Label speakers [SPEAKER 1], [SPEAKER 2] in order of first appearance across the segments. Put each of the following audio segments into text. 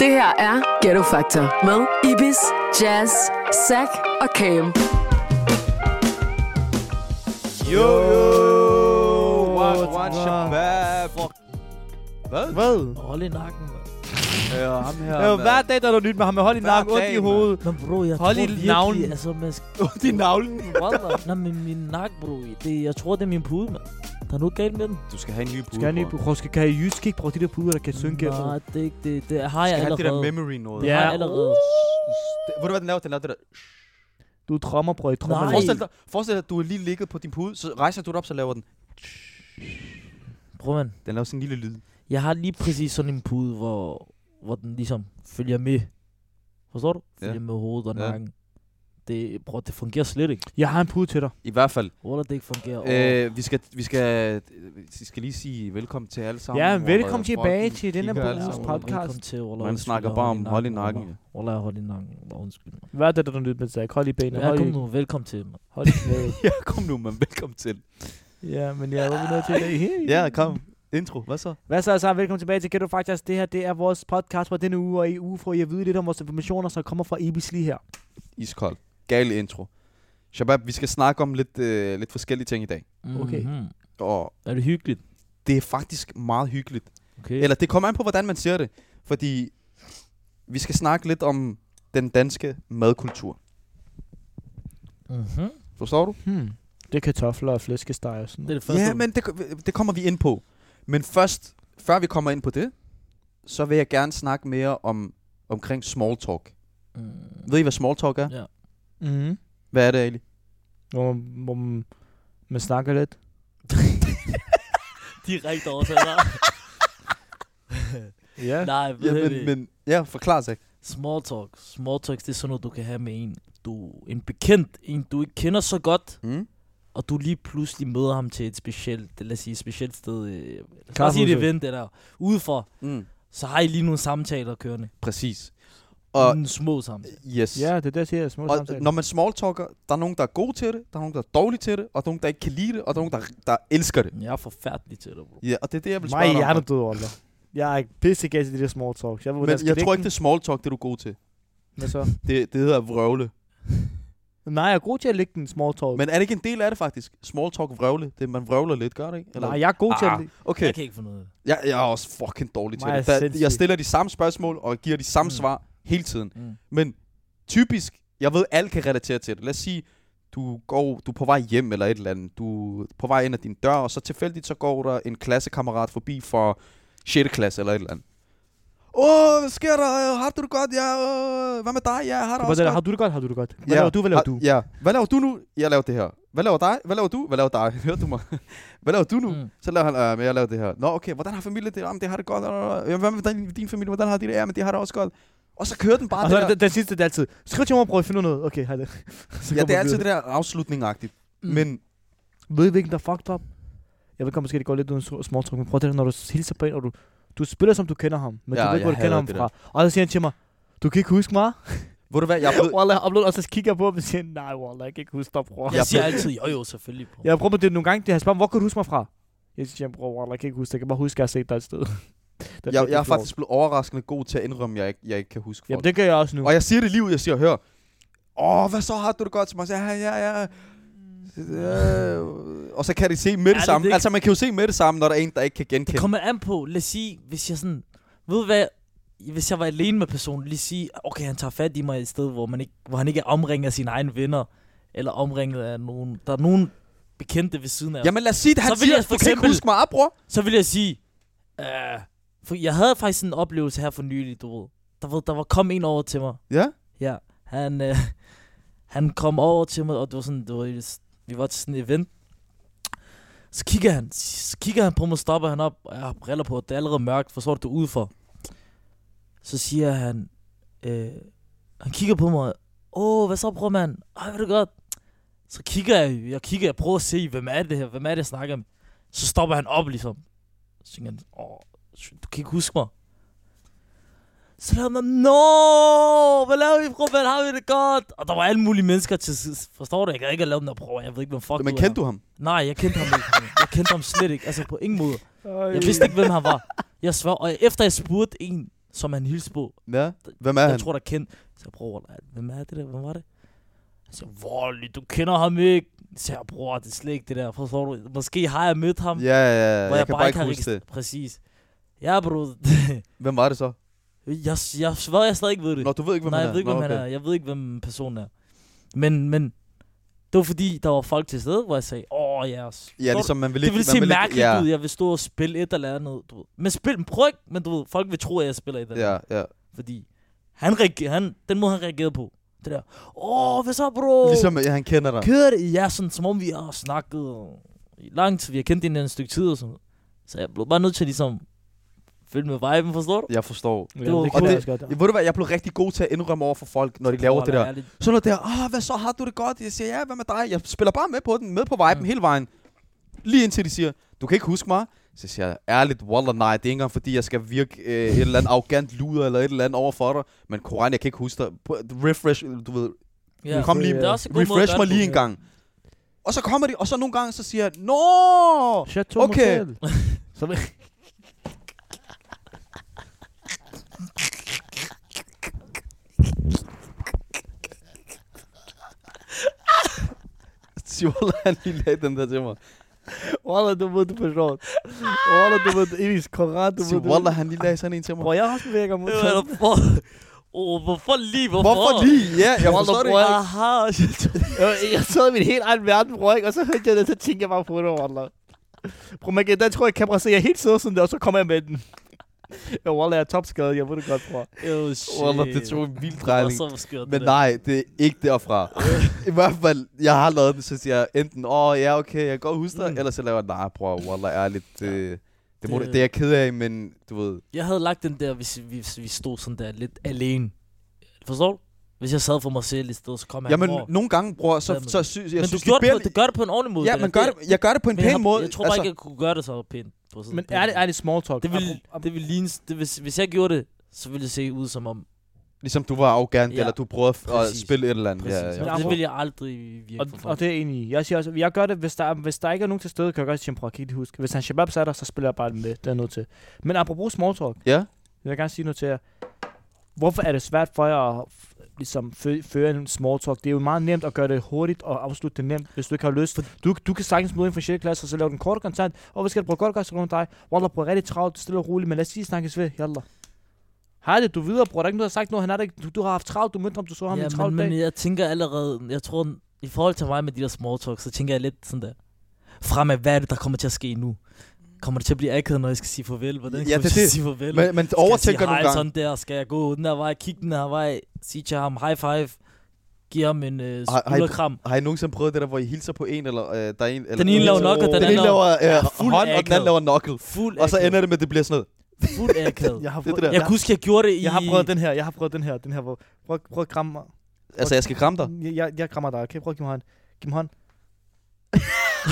[SPEAKER 1] her er Ghetto Factor med Ibis, Jazz, Zack og Cam.
[SPEAKER 2] Yo, yo,
[SPEAKER 3] what-
[SPEAKER 2] what, what,
[SPEAKER 3] what-
[SPEAKER 2] shabab. Hvad?
[SPEAKER 3] Hvad?
[SPEAKER 4] Hold i nakken, mand.
[SPEAKER 2] Ja, ham her,
[SPEAKER 3] Ja,
[SPEAKER 2] mand.
[SPEAKER 3] hver dag, der er noget nyt med ham. Hold i
[SPEAKER 2] Hver
[SPEAKER 3] nakken, ondt
[SPEAKER 2] dag,
[SPEAKER 3] i hovedet.
[SPEAKER 4] Men bro, jeg
[SPEAKER 3] Hold
[SPEAKER 4] tror
[SPEAKER 3] i
[SPEAKER 4] virkelig,
[SPEAKER 3] navlen.
[SPEAKER 4] altså, man skal...
[SPEAKER 3] Ondt i navlen.
[SPEAKER 4] Wallah. Nej, men min nak, bro. Det, jeg tror, det er min pude, mand. Der er noget galt med den.
[SPEAKER 2] Du skal have en ny pude,
[SPEAKER 3] Skal jeg nye
[SPEAKER 2] bror.
[SPEAKER 3] på Skal jeg i jysk ikke bruge de der puder, der kan synke? og sådan
[SPEAKER 4] Nej,
[SPEAKER 3] noget?
[SPEAKER 4] det er ikke det. Det har
[SPEAKER 2] Du skal
[SPEAKER 4] jeg
[SPEAKER 2] have
[SPEAKER 4] allerede.
[SPEAKER 2] det der memory noget.
[SPEAKER 4] Det har jeg
[SPEAKER 3] Ja.
[SPEAKER 4] allerede.
[SPEAKER 2] Det- Ved du, hvad den laver? Den laver det der...
[SPEAKER 3] Du er trommer, bror. I trommer.
[SPEAKER 4] Nej.
[SPEAKER 2] Forestil dig, forestil dig, at du har lige ligget på din pude, så rejser du dig op, så laver den.
[SPEAKER 4] Prøv, man.
[SPEAKER 2] Den laver sådan en lille lyd.
[SPEAKER 4] Jeg har lige præcis sådan en pude, hvor, hvor den ligesom følger med. Forstår du?
[SPEAKER 2] Ja.
[SPEAKER 4] Følger med hovedet og
[SPEAKER 2] Ja.
[SPEAKER 4] nakken. Det, bror, det fungerer slet ikke.
[SPEAKER 3] Jeg har en pude til dig.
[SPEAKER 2] I hvert fald.
[SPEAKER 4] Wallah, det ikke fungerer. Øh.
[SPEAKER 2] Øh, vi, skal, vi, skal, vi skal lige sige velkommen til alle sammen.
[SPEAKER 3] Ja,
[SPEAKER 2] hvor
[SPEAKER 3] velkommen
[SPEAKER 2] folk
[SPEAKER 3] tilbage til denne
[SPEAKER 2] kigger alle
[SPEAKER 3] bonus
[SPEAKER 2] sammen.
[SPEAKER 3] podcast.
[SPEAKER 4] Velkommen til, Wallah.
[SPEAKER 2] Man
[SPEAKER 4] Undskyld,
[SPEAKER 2] snakker
[SPEAKER 4] jeg
[SPEAKER 2] bare
[SPEAKER 4] holdt
[SPEAKER 2] om
[SPEAKER 4] i
[SPEAKER 2] hold i
[SPEAKER 4] nakken,
[SPEAKER 2] nakken.
[SPEAKER 4] Wallah. Wallah, jeg hold i nakken. Wallah, Undskyld. mig.
[SPEAKER 3] Hvad er det, der er nyt med Zach? Hold i benene.
[SPEAKER 4] Ja,
[SPEAKER 3] Hold
[SPEAKER 4] kom
[SPEAKER 3] i...
[SPEAKER 4] nu. Velkommen til, mand.
[SPEAKER 3] Hold i hvad?
[SPEAKER 2] Ja, kom nu, man. Velkommen til.
[SPEAKER 3] Ja, men jeg er nødt til i dag. Hey.
[SPEAKER 2] Ja, kom. Intro. Hvad så?
[SPEAKER 3] Hvad så, så velkommen tilbage til Ghetto Factors. Det her det er vores podcast for denne uge, og i uge får I at vide lidt om vores informationer, som kommer fra Ibis lige her.
[SPEAKER 2] Iskold. Gal intro. Shabab, vi skal snakke om lidt, øh, lidt forskellige ting i dag.
[SPEAKER 3] Okay.
[SPEAKER 4] Mhm.
[SPEAKER 2] Og
[SPEAKER 4] Er det hyggeligt?
[SPEAKER 2] det er faktisk meget hyggeligt.
[SPEAKER 4] Okay.
[SPEAKER 2] Eller det kommer an på, hvordan man siger det. Fordi vi skal snakke lidt om den danske madkultur.
[SPEAKER 3] Mm-hmm.
[SPEAKER 4] Mhm.
[SPEAKER 2] Forstår du?
[SPEAKER 3] Hmm. Det er kartofler og flæskesteg og sådan
[SPEAKER 4] Det er
[SPEAKER 3] noget.
[SPEAKER 4] det første.
[SPEAKER 2] ja, men det, det kommer vi ind på. Men først, før vi kommer ind på det, så vil jeg gerne snakke mere om omkring small talk.
[SPEAKER 4] Mm.
[SPEAKER 2] Ved I, hvad small talk er?
[SPEAKER 4] Ja.
[SPEAKER 3] Mm-hmm.
[SPEAKER 2] Hvad er det egentlig?
[SPEAKER 3] Hvor, man- hvor man, man snakker lidt.
[SPEAKER 4] Direkte oversætter.
[SPEAKER 3] Ja.
[SPEAKER 4] Nej,
[SPEAKER 2] Ja,
[SPEAKER 4] ved ja,
[SPEAKER 2] men, men, ja forklar sig.
[SPEAKER 4] Small talk. Small talk, det er sådan noget, du kan have med en, du, en bekendt, en du ikke kender så godt,
[SPEAKER 3] Hmm?
[SPEAKER 2] Mm?
[SPEAKER 4] og du lige pludselig møder ham til et specielt, lad os sige, et specielt sted. øh, Lad os bare sige
[SPEAKER 3] Kaffehuset.
[SPEAKER 4] et event, eller udefra,
[SPEAKER 2] Mm.
[SPEAKER 4] så har I lige nogle samtaler kørende.
[SPEAKER 2] Præcis. Og
[SPEAKER 4] Og nogle små samtaler.
[SPEAKER 2] yes.
[SPEAKER 3] Ja, det er der, jeg siger. Små
[SPEAKER 2] Og
[SPEAKER 3] samtaler.
[SPEAKER 2] når man small talker, der er nogen, der er gode til det, der er nogen, der er dårlige til det, og der er nogen, der ikke kan lide det, og der er nogen, der, der elsker det.
[SPEAKER 4] Men Jeg er forfærdelig til dig, bro.
[SPEAKER 2] Ja, og det er det, jeg vil
[SPEAKER 3] Nej,
[SPEAKER 2] spørge dig
[SPEAKER 3] jeg
[SPEAKER 2] om.
[SPEAKER 3] er død, Oliver. Jeg er pissegas i de der small talks. Jeg, ved, hvordan
[SPEAKER 2] Men
[SPEAKER 3] skal
[SPEAKER 2] jeg tror ikke,
[SPEAKER 3] den-
[SPEAKER 2] det er small talk, det du er god til.
[SPEAKER 3] Hvad så?
[SPEAKER 2] Det, det hedder vrøvle.
[SPEAKER 3] Nej, jeg er god til at lægge den small talk.
[SPEAKER 2] Men er det ikke en del af det faktisk? Small talk vrøvle. Det, man vrøvler lidt, gør det ikke?
[SPEAKER 3] Nej, jeg er god til at
[SPEAKER 2] Ah,
[SPEAKER 3] lægge.
[SPEAKER 2] Okay,
[SPEAKER 4] Jeg kan ikke få noget.
[SPEAKER 2] jeg, jeg er også fucking dårlig til
[SPEAKER 3] Mig er
[SPEAKER 2] det. Da,
[SPEAKER 3] sindssyg.
[SPEAKER 2] jeg stiller de samme spørgsmål og giver de samme
[SPEAKER 4] Mm.
[SPEAKER 2] svar hele tiden.
[SPEAKER 4] Mm.
[SPEAKER 2] Men typisk, jeg ved, alle kan relatere til det. Lad os sige, du, går, du er på vej hjem eller et eller andet. Du er på vej ind ad din dør, og så tilfældigt så går der en klassekammerat forbi fra 6. klasse eller et eller andet. Åh, oh, hvad sker der? Har du det godt? Ja, øh, hvad med dig? Ja, har du
[SPEAKER 3] Hvordan,
[SPEAKER 2] også godt?
[SPEAKER 3] har du det godt? Har du det godt? Hvad laver du? Hvad laver
[SPEAKER 2] har-
[SPEAKER 3] du?
[SPEAKER 2] Ja. Ah, Hvad laver du nu? Jeg laver det her. Hvad laver dig? Hvad laver du? Hvad laver dig? Hørte du mig? Hvad laver du nu? Mm.
[SPEAKER 4] Mm.
[SPEAKER 2] Så laver han, øh, men jeg laver det her. Nå, okay, hvordan har familien det? Jamen, det har det godt. Øh, Hvad med din, din familie? Hvordan har de det? Ja, men det har det også godt. Og så kører den bare
[SPEAKER 3] Og så
[SPEAKER 2] det
[SPEAKER 3] er
[SPEAKER 2] der.
[SPEAKER 3] det- den sidste, det er altid. Skriv til mig, prøv at finde noget. Okay, hej det. Så
[SPEAKER 2] Ja,
[SPEAKER 3] går
[SPEAKER 2] det er
[SPEAKER 3] man
[SPEAKER 2] altid det
[SPEAKER 3] videre.
[SPEAKER 2] der afslutningagtigt. Mm.
[SPEAKER 4] Mm.
[SPEAKER 2] Men
[SPEAKER 3] Ved I, hvilken der er fucked up? Jeg ved godt, måske det går lidt uden small talk, men prøv at det, når du hilser på en, og du, du spiller som du kender ham, men
[SPEAKER 2] Ja,
[SPEAKER 3] du ved
[SPEAKER 2] jeg
[SPEAKER 3] ikke, hvor du
[SPEAKER 2] hader
[SPEAKER 3] kender ham
[SPEAKER 2] det
[SPEAKER 3] fra. Og så siger han til mig, du kan ikke huske mig?
[SPEAKER 2] ved du hvad, jeg er blevet,
[SPEAKER 3] Wallah, og, og så kigger jeg på ham og siger, nej, Wallah, jeg kan ikke huske dig, bror.
[SPEAKER 4] Jeg siger altid, jo jo, selvfølgelig, bro.
[SPEAKER 3] Jeg prøver det nogle gange, det har spurgt, hvor kan du huske mig fra? Jeg siger, bror, Wallah, jeg kan ikke huske dig, jeg kan bare huske, at jeg har set dig et sted. Det
[SPEAKER 2] jeg, jeg er
[SPEAKER 3] virkelig flot.
[SPEAKER 2] faktisk blevet overraskende god til at indrømme, at jeg ikke, jeg ikke kan huske folk.
[SPEAKER 3] Jamen, det gør jeg også nu.
[SPEAKER 2] Og jeg siger det lige ud, jeg siger, hør, åh, hvad så har du det godt til mig? Så, ja, ja, ja. Øh, og så kan de se med det
[SPEAKER 4] Ærligt,
[SPEAKER 2] samme.
[SPEAKER 4] ikke?
[SPEAKER 2] Altså, man kan jo se med det samme, når der er en, der ikke kan genkende.
[SPEAKER 4] Det kommer an på, lad os sige, hvis jeg sådan, ved du hvad, hvis jeg var alene med personen, lige sige, okay, han tager fat i mig et sted, hvor, man ikke, hvor han ikke er omringet af sine egne venner, eller omringet af nogen, der er nogen bekendte ved siden af. Jamen.
[SPEAKER 2] Jamen lad os sige, at han
[SPEAKER 4] Så vil
[SPEAKER 2] siger,
[SPEAKER 4] jeg
[SPEAKER 2] for
[SPEAKER 4] for
[SPEAKER 2] du kan ikke
[SPEAKER 4] eksempel-
[SPEAKER 2] huske mig op, bror.
[SPEAKER 4] Så vil jeg sige, øh, for jeg havde faktisk en oplevelse her for nylig, du ved. Der, ved, der var kom en over til mig.
[SPEAKER 2] Ja?
[SPEAKER 4] Ja, han, øh, han kom over til mig, og det var sådan, det var, vi var til sådan et event. Så kigger han, så kigger han på mig, stopper han op, og jeg har briller på, det er allerede mørkt, forstår du, det er udenfor. Så siger han, øh, han kigger på mig, åh, hvad så, bror, mand? Ej, hvad er det godt? Så kigger jeg, jeg kigger, jeg prøver at se, hvem er det her, hvem er det, jeg snakker med? Så stopper han op, ligesom. Så tænker han, åh, shit, du kan ikke huske mig. Så lavede man, no, hvad laver vi, bror, mand? Har vi det godt? Og der var alle mulige mennesker til sidst. Forstår du? Jeg gad ikke at lave den der prøve. Jeg ved ikke, hvem fuck
[SPEAKER 2] Men
[SPEAKER 4] er.
[SPEAKER 2] kendte du ham?
[SPEAKER 4] Nej, jeg kendte ham ikke. Jeg kendte ham slet ikke. Altså på ingen måde.
[SPEAKER 3] Øj.
[SPEAKER 4] Jeg vidste ikke, hvem han var. Jeg svær. Og efter jeg spurgte en, som han hilste på.
[SPEAKER 2] Ja. Hvem er
[SPEAKER 4] jeg
[SPEAKER 2] han?
[SPEAKER 4] tror, der kendte. Så jeg, bror, lad, hvem er det der? Hvem var det? Han siger, voldelig, du kender ham ikke. Så jeg, bror, det er slet ikke det der, forstår du? Måske har jeg mødt ham,
[SPEAKER 2] Ja, ja, ja.
[SPEAKER 4] hvor
[SPEAKER 2] Jeg,
[SPEAKER 4] jeg,
[SPEAKER 2] jeg kan bare ikke
[SPEAKER 4] har
[SPEAKER 2] huske det.
[SPEAKER 4] registr- Præcis. Ja, bro.
[SPEAKER 2] Hvem var det så?
[SPEAKER 4] jeg, jeg svarer, jeg stadig ikke ved det.
[SPEAKER 2] Nå, du ved ikke, hvem
[SPEAKER 4] Nej,
[SPEAKER 2] han
[SPEAKER 4] jeg ved ikke,
[SPEAKER 2] Nå,
[SPEAKER 4] hvem han
[SPEAKER 2] okay.
[SPEAKER 4] er. Jeg ved ikke, hvem personen er. Men, men, det var fordi, der var folk til stede, hvor jeg sagde, åh, oh, yes.
[SPEAKER 2] Ja, ligesom man vil
[SPEAKER 4] det
[SPEAKER 2] ikke...
[SPEAKER 4] ville
[SPEAKER 2] man
[SPEAKER 4] se
[SPEAKER 2] vil ikke-
[SPEAKER 4] mærkeligt
[SPEAKER 2] ja.
[SPEAKER 4] ud, jeg vil stå og spille et eller andet. Du ved. Men spil, prøv ikke, men du ved, folk vil tro, at jeg spiller et eller andet.
[SPEAKER 2] Ja, ja.
[SPEAKER 4] Fordi han, reager, han, den måde, han reagerede på, det der, åh, hvad så, bro?
[SPEAKER 2] Ligesom ja, han kender dig.
[SPEAKER 4] Kører det? Ja, sådan, som om vi har snakket i lang tid. Vi har kendt hinanden et stykke tid og sådan noget. Så jeg blev bare nødt til at ligesom følge med viben, forstår du?
[SPEAKER 2] Jeg forstår.
[SPEAKER 3] Ja,
[SPEAKER 4] var
[SPEAKER 3] det
[SPEAKER 4] cool.
[SPEAKER 3] kan jeg
[SPEAKER 2] Og
[SPEAKER 3] også godt.
[SPEAKER 2] Ja, ved du hvad, jeg blev rigtig god til at indrømme over for folk, når de laver
[SPEAKER 4] Prøv at
[SPEAKER 2] det
[SPEAKER 4] være
[SPEAKER 2] der.
[SPEAKER 4] ærlig.
[SPEAKER 2] Sådan noget der, ah, hvad så, har du det godt? Jeg siger, ja, hvad med dig? Jeg spiller bare med på den, med på viben
[SPEAKER 4] Mm.
[SPEAKER 2] hele vejen. Lige indtil de siger, du kan ikke huske mig. Så siger jeg, ærligt, wallah, nej, det er ikke engang, fordi jeg skal virke øh, et eller andet arrogant luder eller et eller andet over for dig. Men Koran, jeg kan ikke huske dig. Pr- Refresh, du ved,
[SPEAKER 4] Ja.
[SPEAKER 2] Kom lige-
[SPEAKER 4] det er også en god måde at
[SPEAKER 2] refresh
[SPEAKER 4] gøre
[SPEAKER 2] mig
[SPEAKER 4] det på.
[SPEAKER 2] lige en gang. Og så kommer de, og så nogle gange, så siger jeg, Nå!
[SPEAKER 3] Chateau
[SPEAKER 2] Okay.
[SPEAKER 3] Motel. Så vil-
[SPEAKER 2] Sjola, han lige lagde den der til mig.
[SPEAKER 3] Wallah, du ved, du forstår. Wallah, du ved, det er ikke korrekt, du ved.
[SPEAKER 2] Så Wallah, han lige lagde sådan en til mig.
[SPEAKER 3] Bror, jeg har også virker mod
[SPEAKER 4] Det var da for... Åh, hvorfor lige? Hvorfor?
[SPEAKER 2] Hvorfor lige? Ja, jeg forstår det ikke.
[SPEAKER 4] Aha,
[SPEAKER 3] Jeg- Jeg sad i min helt egen verden, bror, ikke? Og så hørte jeg det, så tænkte jeg bare på det, wallah. Bror, man kan, der tror jeg, kamera ser jeg helt sidder sådan der, og så kommer jeg med den. Ja, wallah, jeg er topskadet, jeg ved det godt, bror.
[SPEAKER 4] oh, shit.
[SPEAKER 2] Wallah, det tog en vild
[SPEAKER 4] Det var
[SPEAKER 2] drejning.
[SPEAKER 4] så skørt,
[SPEAKER 2] Men
[SPEAKER 4] det der.
[SPEAKER 2] nej, det er ikke derfra. I hvert fald, jeg har lavet den, så siger jeg enten, åh oh, ja, okay, jeg kan godt huske dig,
[SPEAKER 4] Mm.
[SPEAKER 2] mm. eller så laver jeg, nej, bror, wallah, ærligt, det, det, må,
[SPEAKER 4] Det-
[SPEAKER 2] det, det er jeg ked af, men du ved,
[SPEAKER 4] Jeg havde lagt den der, hvis vi, hvis vi stod sådan der lidt alene. Forstår du? Hvis jeg sad for mig selv i stedet, så kom jeg
[SPEAKER 2] jamen,
[SPEAKER 4] over.
[SPEAKER 2] nogle gange, bror, så,
[SPEAKER 4] Hvad med
[SPEAKER 2] så
[SPEAKER 4] det?
[SPEAKER 2] synes
[SPEAKER 4] Men
[SPEAKER 2] jeg,
[SPEAKER 4] du,
[SPEAKER 2] synes,
[SPEAKER 4] gjorde det, på,
[SPEAKER 2] billigt-
[SPEAKER 4] det gør det på en ordentlig måde.
[SPEAKER 2] Ja,
[SPEAKER 4] der.
[SPEAKER 2] men gør det, jeg gør det på en
[SPEAKER 4] men jeg
[SPEAKER 2] pæn
[SPEAKER 4] har-
[SPEAKER 2] måde. Altså,
[SPEAKER 4] Jeg tror bare ikke, jeg kunne gøre det så pænt. På sådan
[SPEAKER 3] Men
[SPEAKER 4] på-
[SPEAKER 3] er det, er det small talk?
[SPEAKER 4] Det ville, det ville ligne... Det, hvis, hvis jeg gjorde det, så ville det se ud som om...
[SPEAKER 2] Ligesom du var arrogant,
[SPEAKER 4] Ja,
[SPEAKER 2] eller du prøvede f- at
[SPEAKER 4] præcis.
[SPEAKER 2] spille et eller andet.
[SPEAKER 4] Præcis.
[SPEAKER 2] Ja,
[SPEAKER 4] Men
[SPEAKER 2] ja.
[SPEAKER 4] Det
[SPEAKER 3] forstår.
[SPEAKER 4] ville jeg aldrig virke
[SPEAKER 3] Og,
[SPEAKER 4] for folk.
[SPEAKER 3] og det er jeg enig i. Jeg siger også, jeg gør det, hvis der, hvis der ikke er nogen til stede, kan jeg godt sige, prøv at kigge huske. Hvis han shababs er der, så spiller jeg bare den med. Det er jeg nødt til. Men apropos small talk,
[SPEAKER 2] Ja.
[SPEAKER 3] jeg vil gerne sige noget til jer. Hvorfor er det svært for jer at f- ligesom fø- føre en small talk? Det er jo meget nemt at gøre det hurtigt og afslutte det nemt, hvis du ikke har lyst. Du, du kan sagtens møde en fra 6. klasse, og så lave den korte kontant. Og hvad skal du bruge godt godt rundt dig? Wallah, bror, rigtig travlt, stille og roligt, men lad os lige snakkes ved. Jalla. Hej det, du er videre, bror. Der er ikke noget, der har sagt noget. Han er der ikke. Du, du har haft travlt, du mødte ham, du så ham ja, en
[SPEAKER 4] Ja,
[SPEAKER 3] travlt
[SPEAKER 4] men,
[SPEAKER 3] dag.
[SPEAKER 4] men jeg tænker allerede, jeg tror, i forhold til mig med de der small talk, så tænker jeg lidt sådan der, fremad, hvad er det, der kommer til at ske nu? Kommer det til at blive akavet, når jeg skal sige farvel? Hvordan
[SPEAKER 2] Ja,
[SPEAKER 4] skal jeg
[SPEAKER 2] det er
[SPEAKER 4] til at
[SPEAKER 2] det.
[SPEAKER 4] sige farvel?
[SPEAKER 2] Men, men
[SPEAKER 4] skal jeg
[SPEAKER 2] overtænker
[SPEAKER 4] sige
[SPEAKER 2] nogle
[SPEAKER 4] hej
[SPEAKER 2] gange.
[SPEAKER 4] sådan der? Skal jeg gå den her vej, kigge den her vej, sige til ham high five, give ham en øh,
[SPEAKER 2] Har- har I-
[SPEAKER 4] skulderkram?
[SPEAKER 2] Har I nogensinde prøvet det der, hvor I hilser på en, eller øh, der er en... Eller,
[SPEAKER 4] Den ene laver
[SPEAKER 2] Åh,
[SPEAKER 4] knock, og den
[SPEAKER 2] Den
[SPEAKER 4] anden
[SPEAKER 2] ene laver øh,
[SPEAKER 4] fuld
[SPEAKER 2] hånd, og den
[SPEAKER 4] akavet.
[SPEAKER 2] anden laver knuckle.
[SPEAKER 4] Fuld
[SPEAKER 2] Og så
[SPEAKER 4] akavet.
[SPEAKER 2] ender det med, at det bliver sådan noget.
[SPEAKER 4] Fuld akavet.
[SPEAKER 3] Jeg har
[SPEAKER 2] det er det
[SPEAKER 3] fået-
[SPEAKER 2] der.
[SPEAKER 4] Jeg kunne huske, jeg gjorde det i...
[SPEAKER 3] Jeg har prøvet den her, jeg har prøvet den her, den her, hvor... Prøv, prøv at kramme mig.
[SPEAKER 2] Altså, jeg skal kramme dig.
[SPEAKER 3] Jeg, jeg, jeg krammer dig, okay? Prøv at give mig hånd. Giv mig hånd.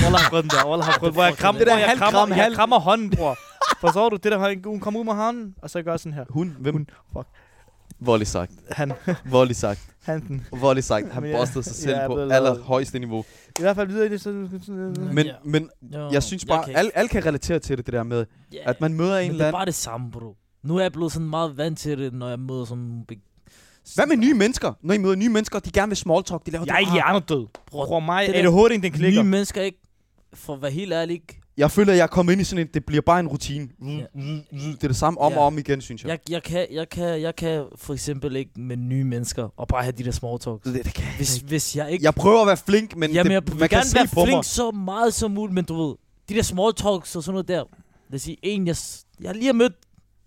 [SPEAKER 3] Wallah har prøvet den der, Wallah har prøvet Hvor jeg krammer,
[SPEAKER 2] Det der
[SPEAKER 3] det der, jeg
[SPEAKER 2] halvkram,
[SPEAKER 3] krammer, jeg
[SPEAKER 2] halv-
[SPEAKER 3] krammer hånden, bror. Forstår du? Det der, hun- hun kommer ud med hånden, og så gør jeg sådan her.
[SPEAKER 2] Hun, hvem?
[SPEAKER 3] Hun. Fuck.
[SPEAKER 2] Voldelig sagt.
[SPEAKER 3] Han,
[SPEAKER 2] Voldelig sagt.
[SPEAKER 3] han den.
[SPEAKER 2] Voldelig sagt. Han
[SPEAKER 3] Men ja,
[SPEAKER 2] bostede sig
[SPEAKER 3] ja,
[SPEAKER 2] selv
[SPEAKER 3] jeg
[SPEAKER 2] på
[SPEAKER 3] ved det.
[SPEAKER 2] allerhøjeste niveau.
[SPEAKER 3] I hvert fald videre i det, så... så-
[SPEAKER 2] Men,
[SPEAKER 4] Ja.
[SPEAKER 2] men
[SPEAKER 4] Jo,
[SPEAKER 2] jeg synes bare,
[SPEAKER 4] kan ikke-
[SPEAKER 2] alle, alle kan relatere til det, det der med,
[SPEAKER 4] Ja.
[SPEAKER 2] at man møder en
[SPEAKER 4] Men
[SPEAKER 2] eller
[SPEAKER 4] det er
[SPEAKER 2] anden.
[SPEAKER 4] bare det samme, bro. Nu er jeg blevet sådan meget vant til det, når jeg møder sådan... Be-
[SPEAKER 2] Hvad med nye mennesker? Når I møder nye mennesker, de gerne vil small talk, de laver
[SPEAKER 3] Jeg er
[SPEAKER 2] det. Ah,
[SPEAKER 3] hjernedød.
[SPEAKER 4] Bror,
[SPEAKER 3] Bror mig,
[SPEAKER 4] det
[SPEAKER 3] er
[SPEAKER 4] der-
[SPEAKER 3] det hurtigt, den klikker?
[SPEAKER 4] Nye mennesker ikke, for at være helt ærlig, ikke.
[SPEAKER 2] Jeg føler, at jeg er kommet ind i sådan en, det bliver bare en rutine.
[SPEAKER 4] Ja.
[SPEAKER 2] Det er det samme om
[SPEAKER 4] Ja.
[SPEAKER 2] og om igen, synes jeg.
[SPEAKER 4] Jeg, jeg, kan, jeg, kan, jeg kan for eksempel ikke med nye mennesker, og bare have de der small talks.
[SPEAKER 2] Det, det kan jeg
[SPEAKER 4] Hvis, hvis jeg ikke...
[SPEAKER 2] Jeg prøver at være flink, men
[SPEAKER 4] jamen,
[SPEAKER 2] det,
[SPEAKER 4] jeg vil
[SPEAKER 2] man kan
[SPEAKER 4] gerne
[SPEAKER 2] se
[SPEAKER 4] være
[SPEAKER 2] på
[SPEAKER 4] flink
[SPEAKER 2] mig.
[SPEAKER 4] så meget som muligt, men du ved, de der small talks og sådan noget der. Lad os sige, en jeg, s- jeg lige har mødt,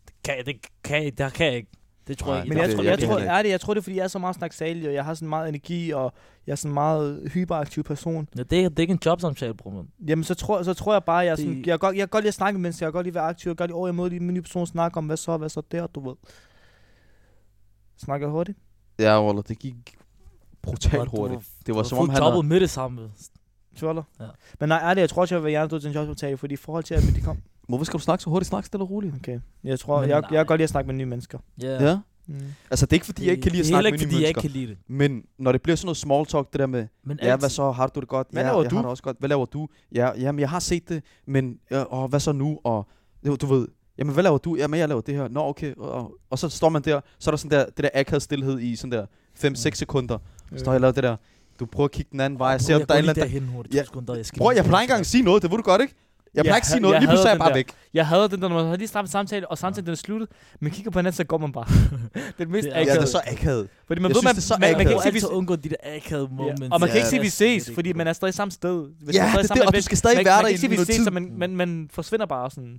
[SPEAKER 4] det kan jeg, det kan jeg, der kan jeg ikke. Det tror
[SPEAKER 2] Nej,
[SPEAKER 4] jeg ikke.
[SPEAKER 2] Det-
[SPEAKER 3] Men jeg,
[SPEAKER 4] Der
[SPEAKER 3] tror,
[SPEAKER 2] jeg
[SPEAKER 3] jeg,
[SPEAKER 2] kan
[SPEAKER 3] tror,
[SPEAKER 2] heller ikke.
[SPEAKER 3] er det, jeg tror, det er, fordi jeg er så meget snaksalig, og jeg har sådan meget energi, og jeg er sådan en meget hyperaktiv person.
[SPEAKER 4] Ja, det, er, det er ikke en jobsamtale, bror, man.
[SPEAKER 3] Jamen, så tror, så tror jeg bare, jeg, er sådan,
[SPEAKER 4] Det-
[SPEAKER 3] jeg, kan godt, jeg kan godt lide at snakke med mennesker, jeg kan godt lide at være aktiv, jeg kan godt lide, åh, jeg møder lige min nye person, snakke om, hvad så, hvad så der, du ved. Snakker jeg hurtigt?
[SPEAKER 2] Ja, Waller, det gik brutalt
[SPEAKER 4] Bror, du
[SPEAKER 2] hurtigt.
[SPEAKER 4] var-
[SPEAKER 2] Det var
[SPEAKER 4] du
[SPEAKER 2] som
[SPEAKER 4] har
[SPEAKER 2] om,
[SPEAKER 4] fået
[SPEAKER 2] han
[SPEAKER 4] jobbet
[SPEAKER 2] havde...
[SPEAKER 4] med det samme.
[SPEAKER 3] Tjoller?
[SPEAKER 4] Ja.
[SPEAKER 3] Men nej, ærligt, jeg tror også, jeg vil være hjernedød til en jobsamtale, fordi i forhold til, at de kom...
[SPEAKER 2] Hvorfor skal du snakke så hurtigt? Snak stille og roligt.
[SPEAKER 3] Okay. Jeg tror,
[SPEAKER 4] Men
[SPEAKER 3] jeg,
[SPEAKER 4] nej.
[SPEAKER 3] jeg kan godt lide at snakke med nye mennesker.
[SPEAKER 4] Ja.
[SPEAKER 2] Ja.
[SPEAKER 3] Mm.
[SPEAKER 2] Altså, det er ikke, fordi jeg ikke kan lide at
[SPEAKER 4] Det er
[SPEAKER 2] snakke
[SPEAKER 4] heller
[SPEAKER 2] med
[SPEAKER 4] ikke,
[SPEAKER 2] nye
[SPEAKER 4] fordi jeg ikke
[SPEAKER 2] mennesker.
[SPEAKER 4] kan lide det.
[SPEAKER 2] Men når det bliver sådan noget small talk, det der med,
[SPEAKER 4] Men
[SPEAKER 2] ja,
[SPEAKER 4] altid-
[SPEAKER 2] hvad så, har du det godt?
[SPEAKER 3] Hvad
[SPEAKER 2] ja,
[SPEAKER 3] laver
[SPEAKER 2] jeg
[SPEAKER 3] du?
[SPEAKER 2] Har det også godt. Hvad laver du? Ja, jamen, jeg har set det, men øh, og hvad så nu? Og du, du ved, Jamen, hvad laver du? Jamen, jeg laver det her. Nå, okay. Og, og, og så står man der, så er der sådan der, det der akavet stillhed i sådan der 5-6 sekunder. Så står jeg og laver det der. Du prøver at kigge den anden vej, og ser om der er en eller anden,
[SPEAKER 4] derhen hurtigt.
[SPEAKER 2] Ja.
[SPEAKER 4] to sekunder, jeg skal
[SPEAKER 2] Bror,
[SPEAKER 4] lige-
[SPEAKER 2] jeg plejer ikke engang at sige noget, det ved du godt, ikke? Jeg plejer
[SPEAKER 3] Jeg
[SPEAKER 2] ikke at sige
[SPEAKER 3] ha-
[SPEAKER 2] noget,
[SPEAKER 3] jeg
[SPEAKER 2] lige pludselig er
[SPEAKER 3] hader
[SPEAKER 2] jeg bare
[SPEAKER 3] den
[SPEAKER 2] væk.
[SPEAKER 3] Jeg havde den der, når man havde lige startet samtale, og samtalen den er sluttet. Man kigger på hinanden, så går man bare. det er det mest
[SPEAKER 4] Det er-
[SPEAKER 2] Ja,
[SPEAKER 3] akavet.
[SPEAKER 2] det er så akavet.
[SPEAKER 3] Fordi man
[SPEAKER 2] Jeg
[SPEAKER 3] ved,
[SPEAKER 2] synes,
[SPEAKER 3] man,
[SPEAKER 2] det er så
[SPEAKER 3] man, man kan
[SPEAKER 2] akavet.
[SPEAKER 3] ikke sige, vi...
[SPEAKER 4] altid undgå de der akavede moments.
[SPEAKER 3] Ja. Og man
[SPEAKER 2] Ja,
[SPEAKER 3] kan ikke sige, vi
[SPEAKER 4] det er slet
[SPEAKER 3] ses,
[SPEAKER 4] ikke
[SPEAKER 3] fordi
[SPEAKER 4] godt.
[SPEAKER 3] man er stadig samme sted. Hvis
[SPEAKER 2] Ja,
[SPEAKER 3] man er
[SPEAKER 2] det
[SPEAKER 3] stadig
[SPEAKER 2] er
[SPEAKER 3] sammen
[SPEAKER 2] det, og
[SPEAKER 3] med
[SPEAKER 2] du
[SPEAKER 3] en
[SPEAKER 2] skal
[SPEAKER 3] ven,
[SPEAKER 2] stadig
[SPEAKER 3] man,
[SPEAKER 2] være der
[SPEAKER 3] man kan
[SPEAKER 2] i
[SPEAKER 3] ikke sige, vi
[SPEAKER 2] noget
[SPEAKER 3] ses,
[SPEAKER 2] tid.
[SPEAKER 3] så man, man, man forsvinder bare sådan.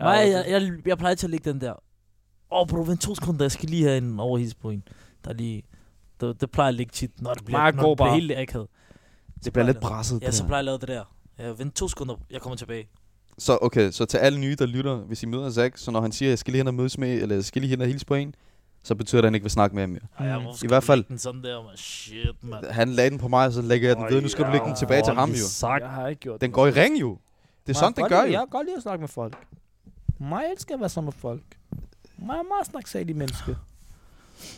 [SPEAKER 3] Ja,
[SPEAKER 4] Nej,
[SPEAKER 3] og-
[SPEAKER 4] jeg, jeg, jeg plejer til at lægge den der. Åh, oh, bro, vent to sekunder, jeg skal lige have en overhis på en. Der er lige... Det, det plejer jeg at ligge tit, når det bliver,
[SPEAKER 3] Meget
[SPEAKER 4] når
[SPEAKER 3] god
[SPEAKER 4] det bliver
[SPEAKER 3] bare.
[SPEAKER 4] helt akavet.
[SPEAKER 2] Det bliver lidt brasset.
[SPEAKER 4] Ja,
[SPEAKER 2] det
[SPEAKER 4] så
[SPEAKER 2] der.
[SPEAKER 4] plejer jeg at lave det der. Ja, vent to sekunder, jeg kommer tilbage.
[SPEAKER 3] Mm.
[SPEAKER 2] Så okay, så til alle nye, der lytter, hvis I møder Zack, så når han siger, at jeg skal lige hen og mødes med, eller jeg skal lige hen og hilse på en, så betyder det, at han ikke vil snakke med ham mere.
[SPEAKER 4] Ej, jeg
[SPEAKER 3] Mm.
[SPEAKER 4] må
[SPEAKER 2] I hvert fald-
[SPEAKER 4] Den sådan der, man. Shit, man.
[SPEAKER 2] Han lagde den på mig, og så lægger jeg den ved. Nu skal du lægge den tilbage til ham, jo.
[SPEAKER 4] Sagt.
[SPEAKER 3] Jeg har ikke gjort
[SPEAKER 2] Den går i ring, jo. Det er sådan, den gør,
[SPEAKER 3] Jeg
[SPEAKER 2] jo.
[SPEAKER 3] kan godt lide at snakke med folk. Mig elsker at være sammen med folk. Mig er meget snaksalig menneske.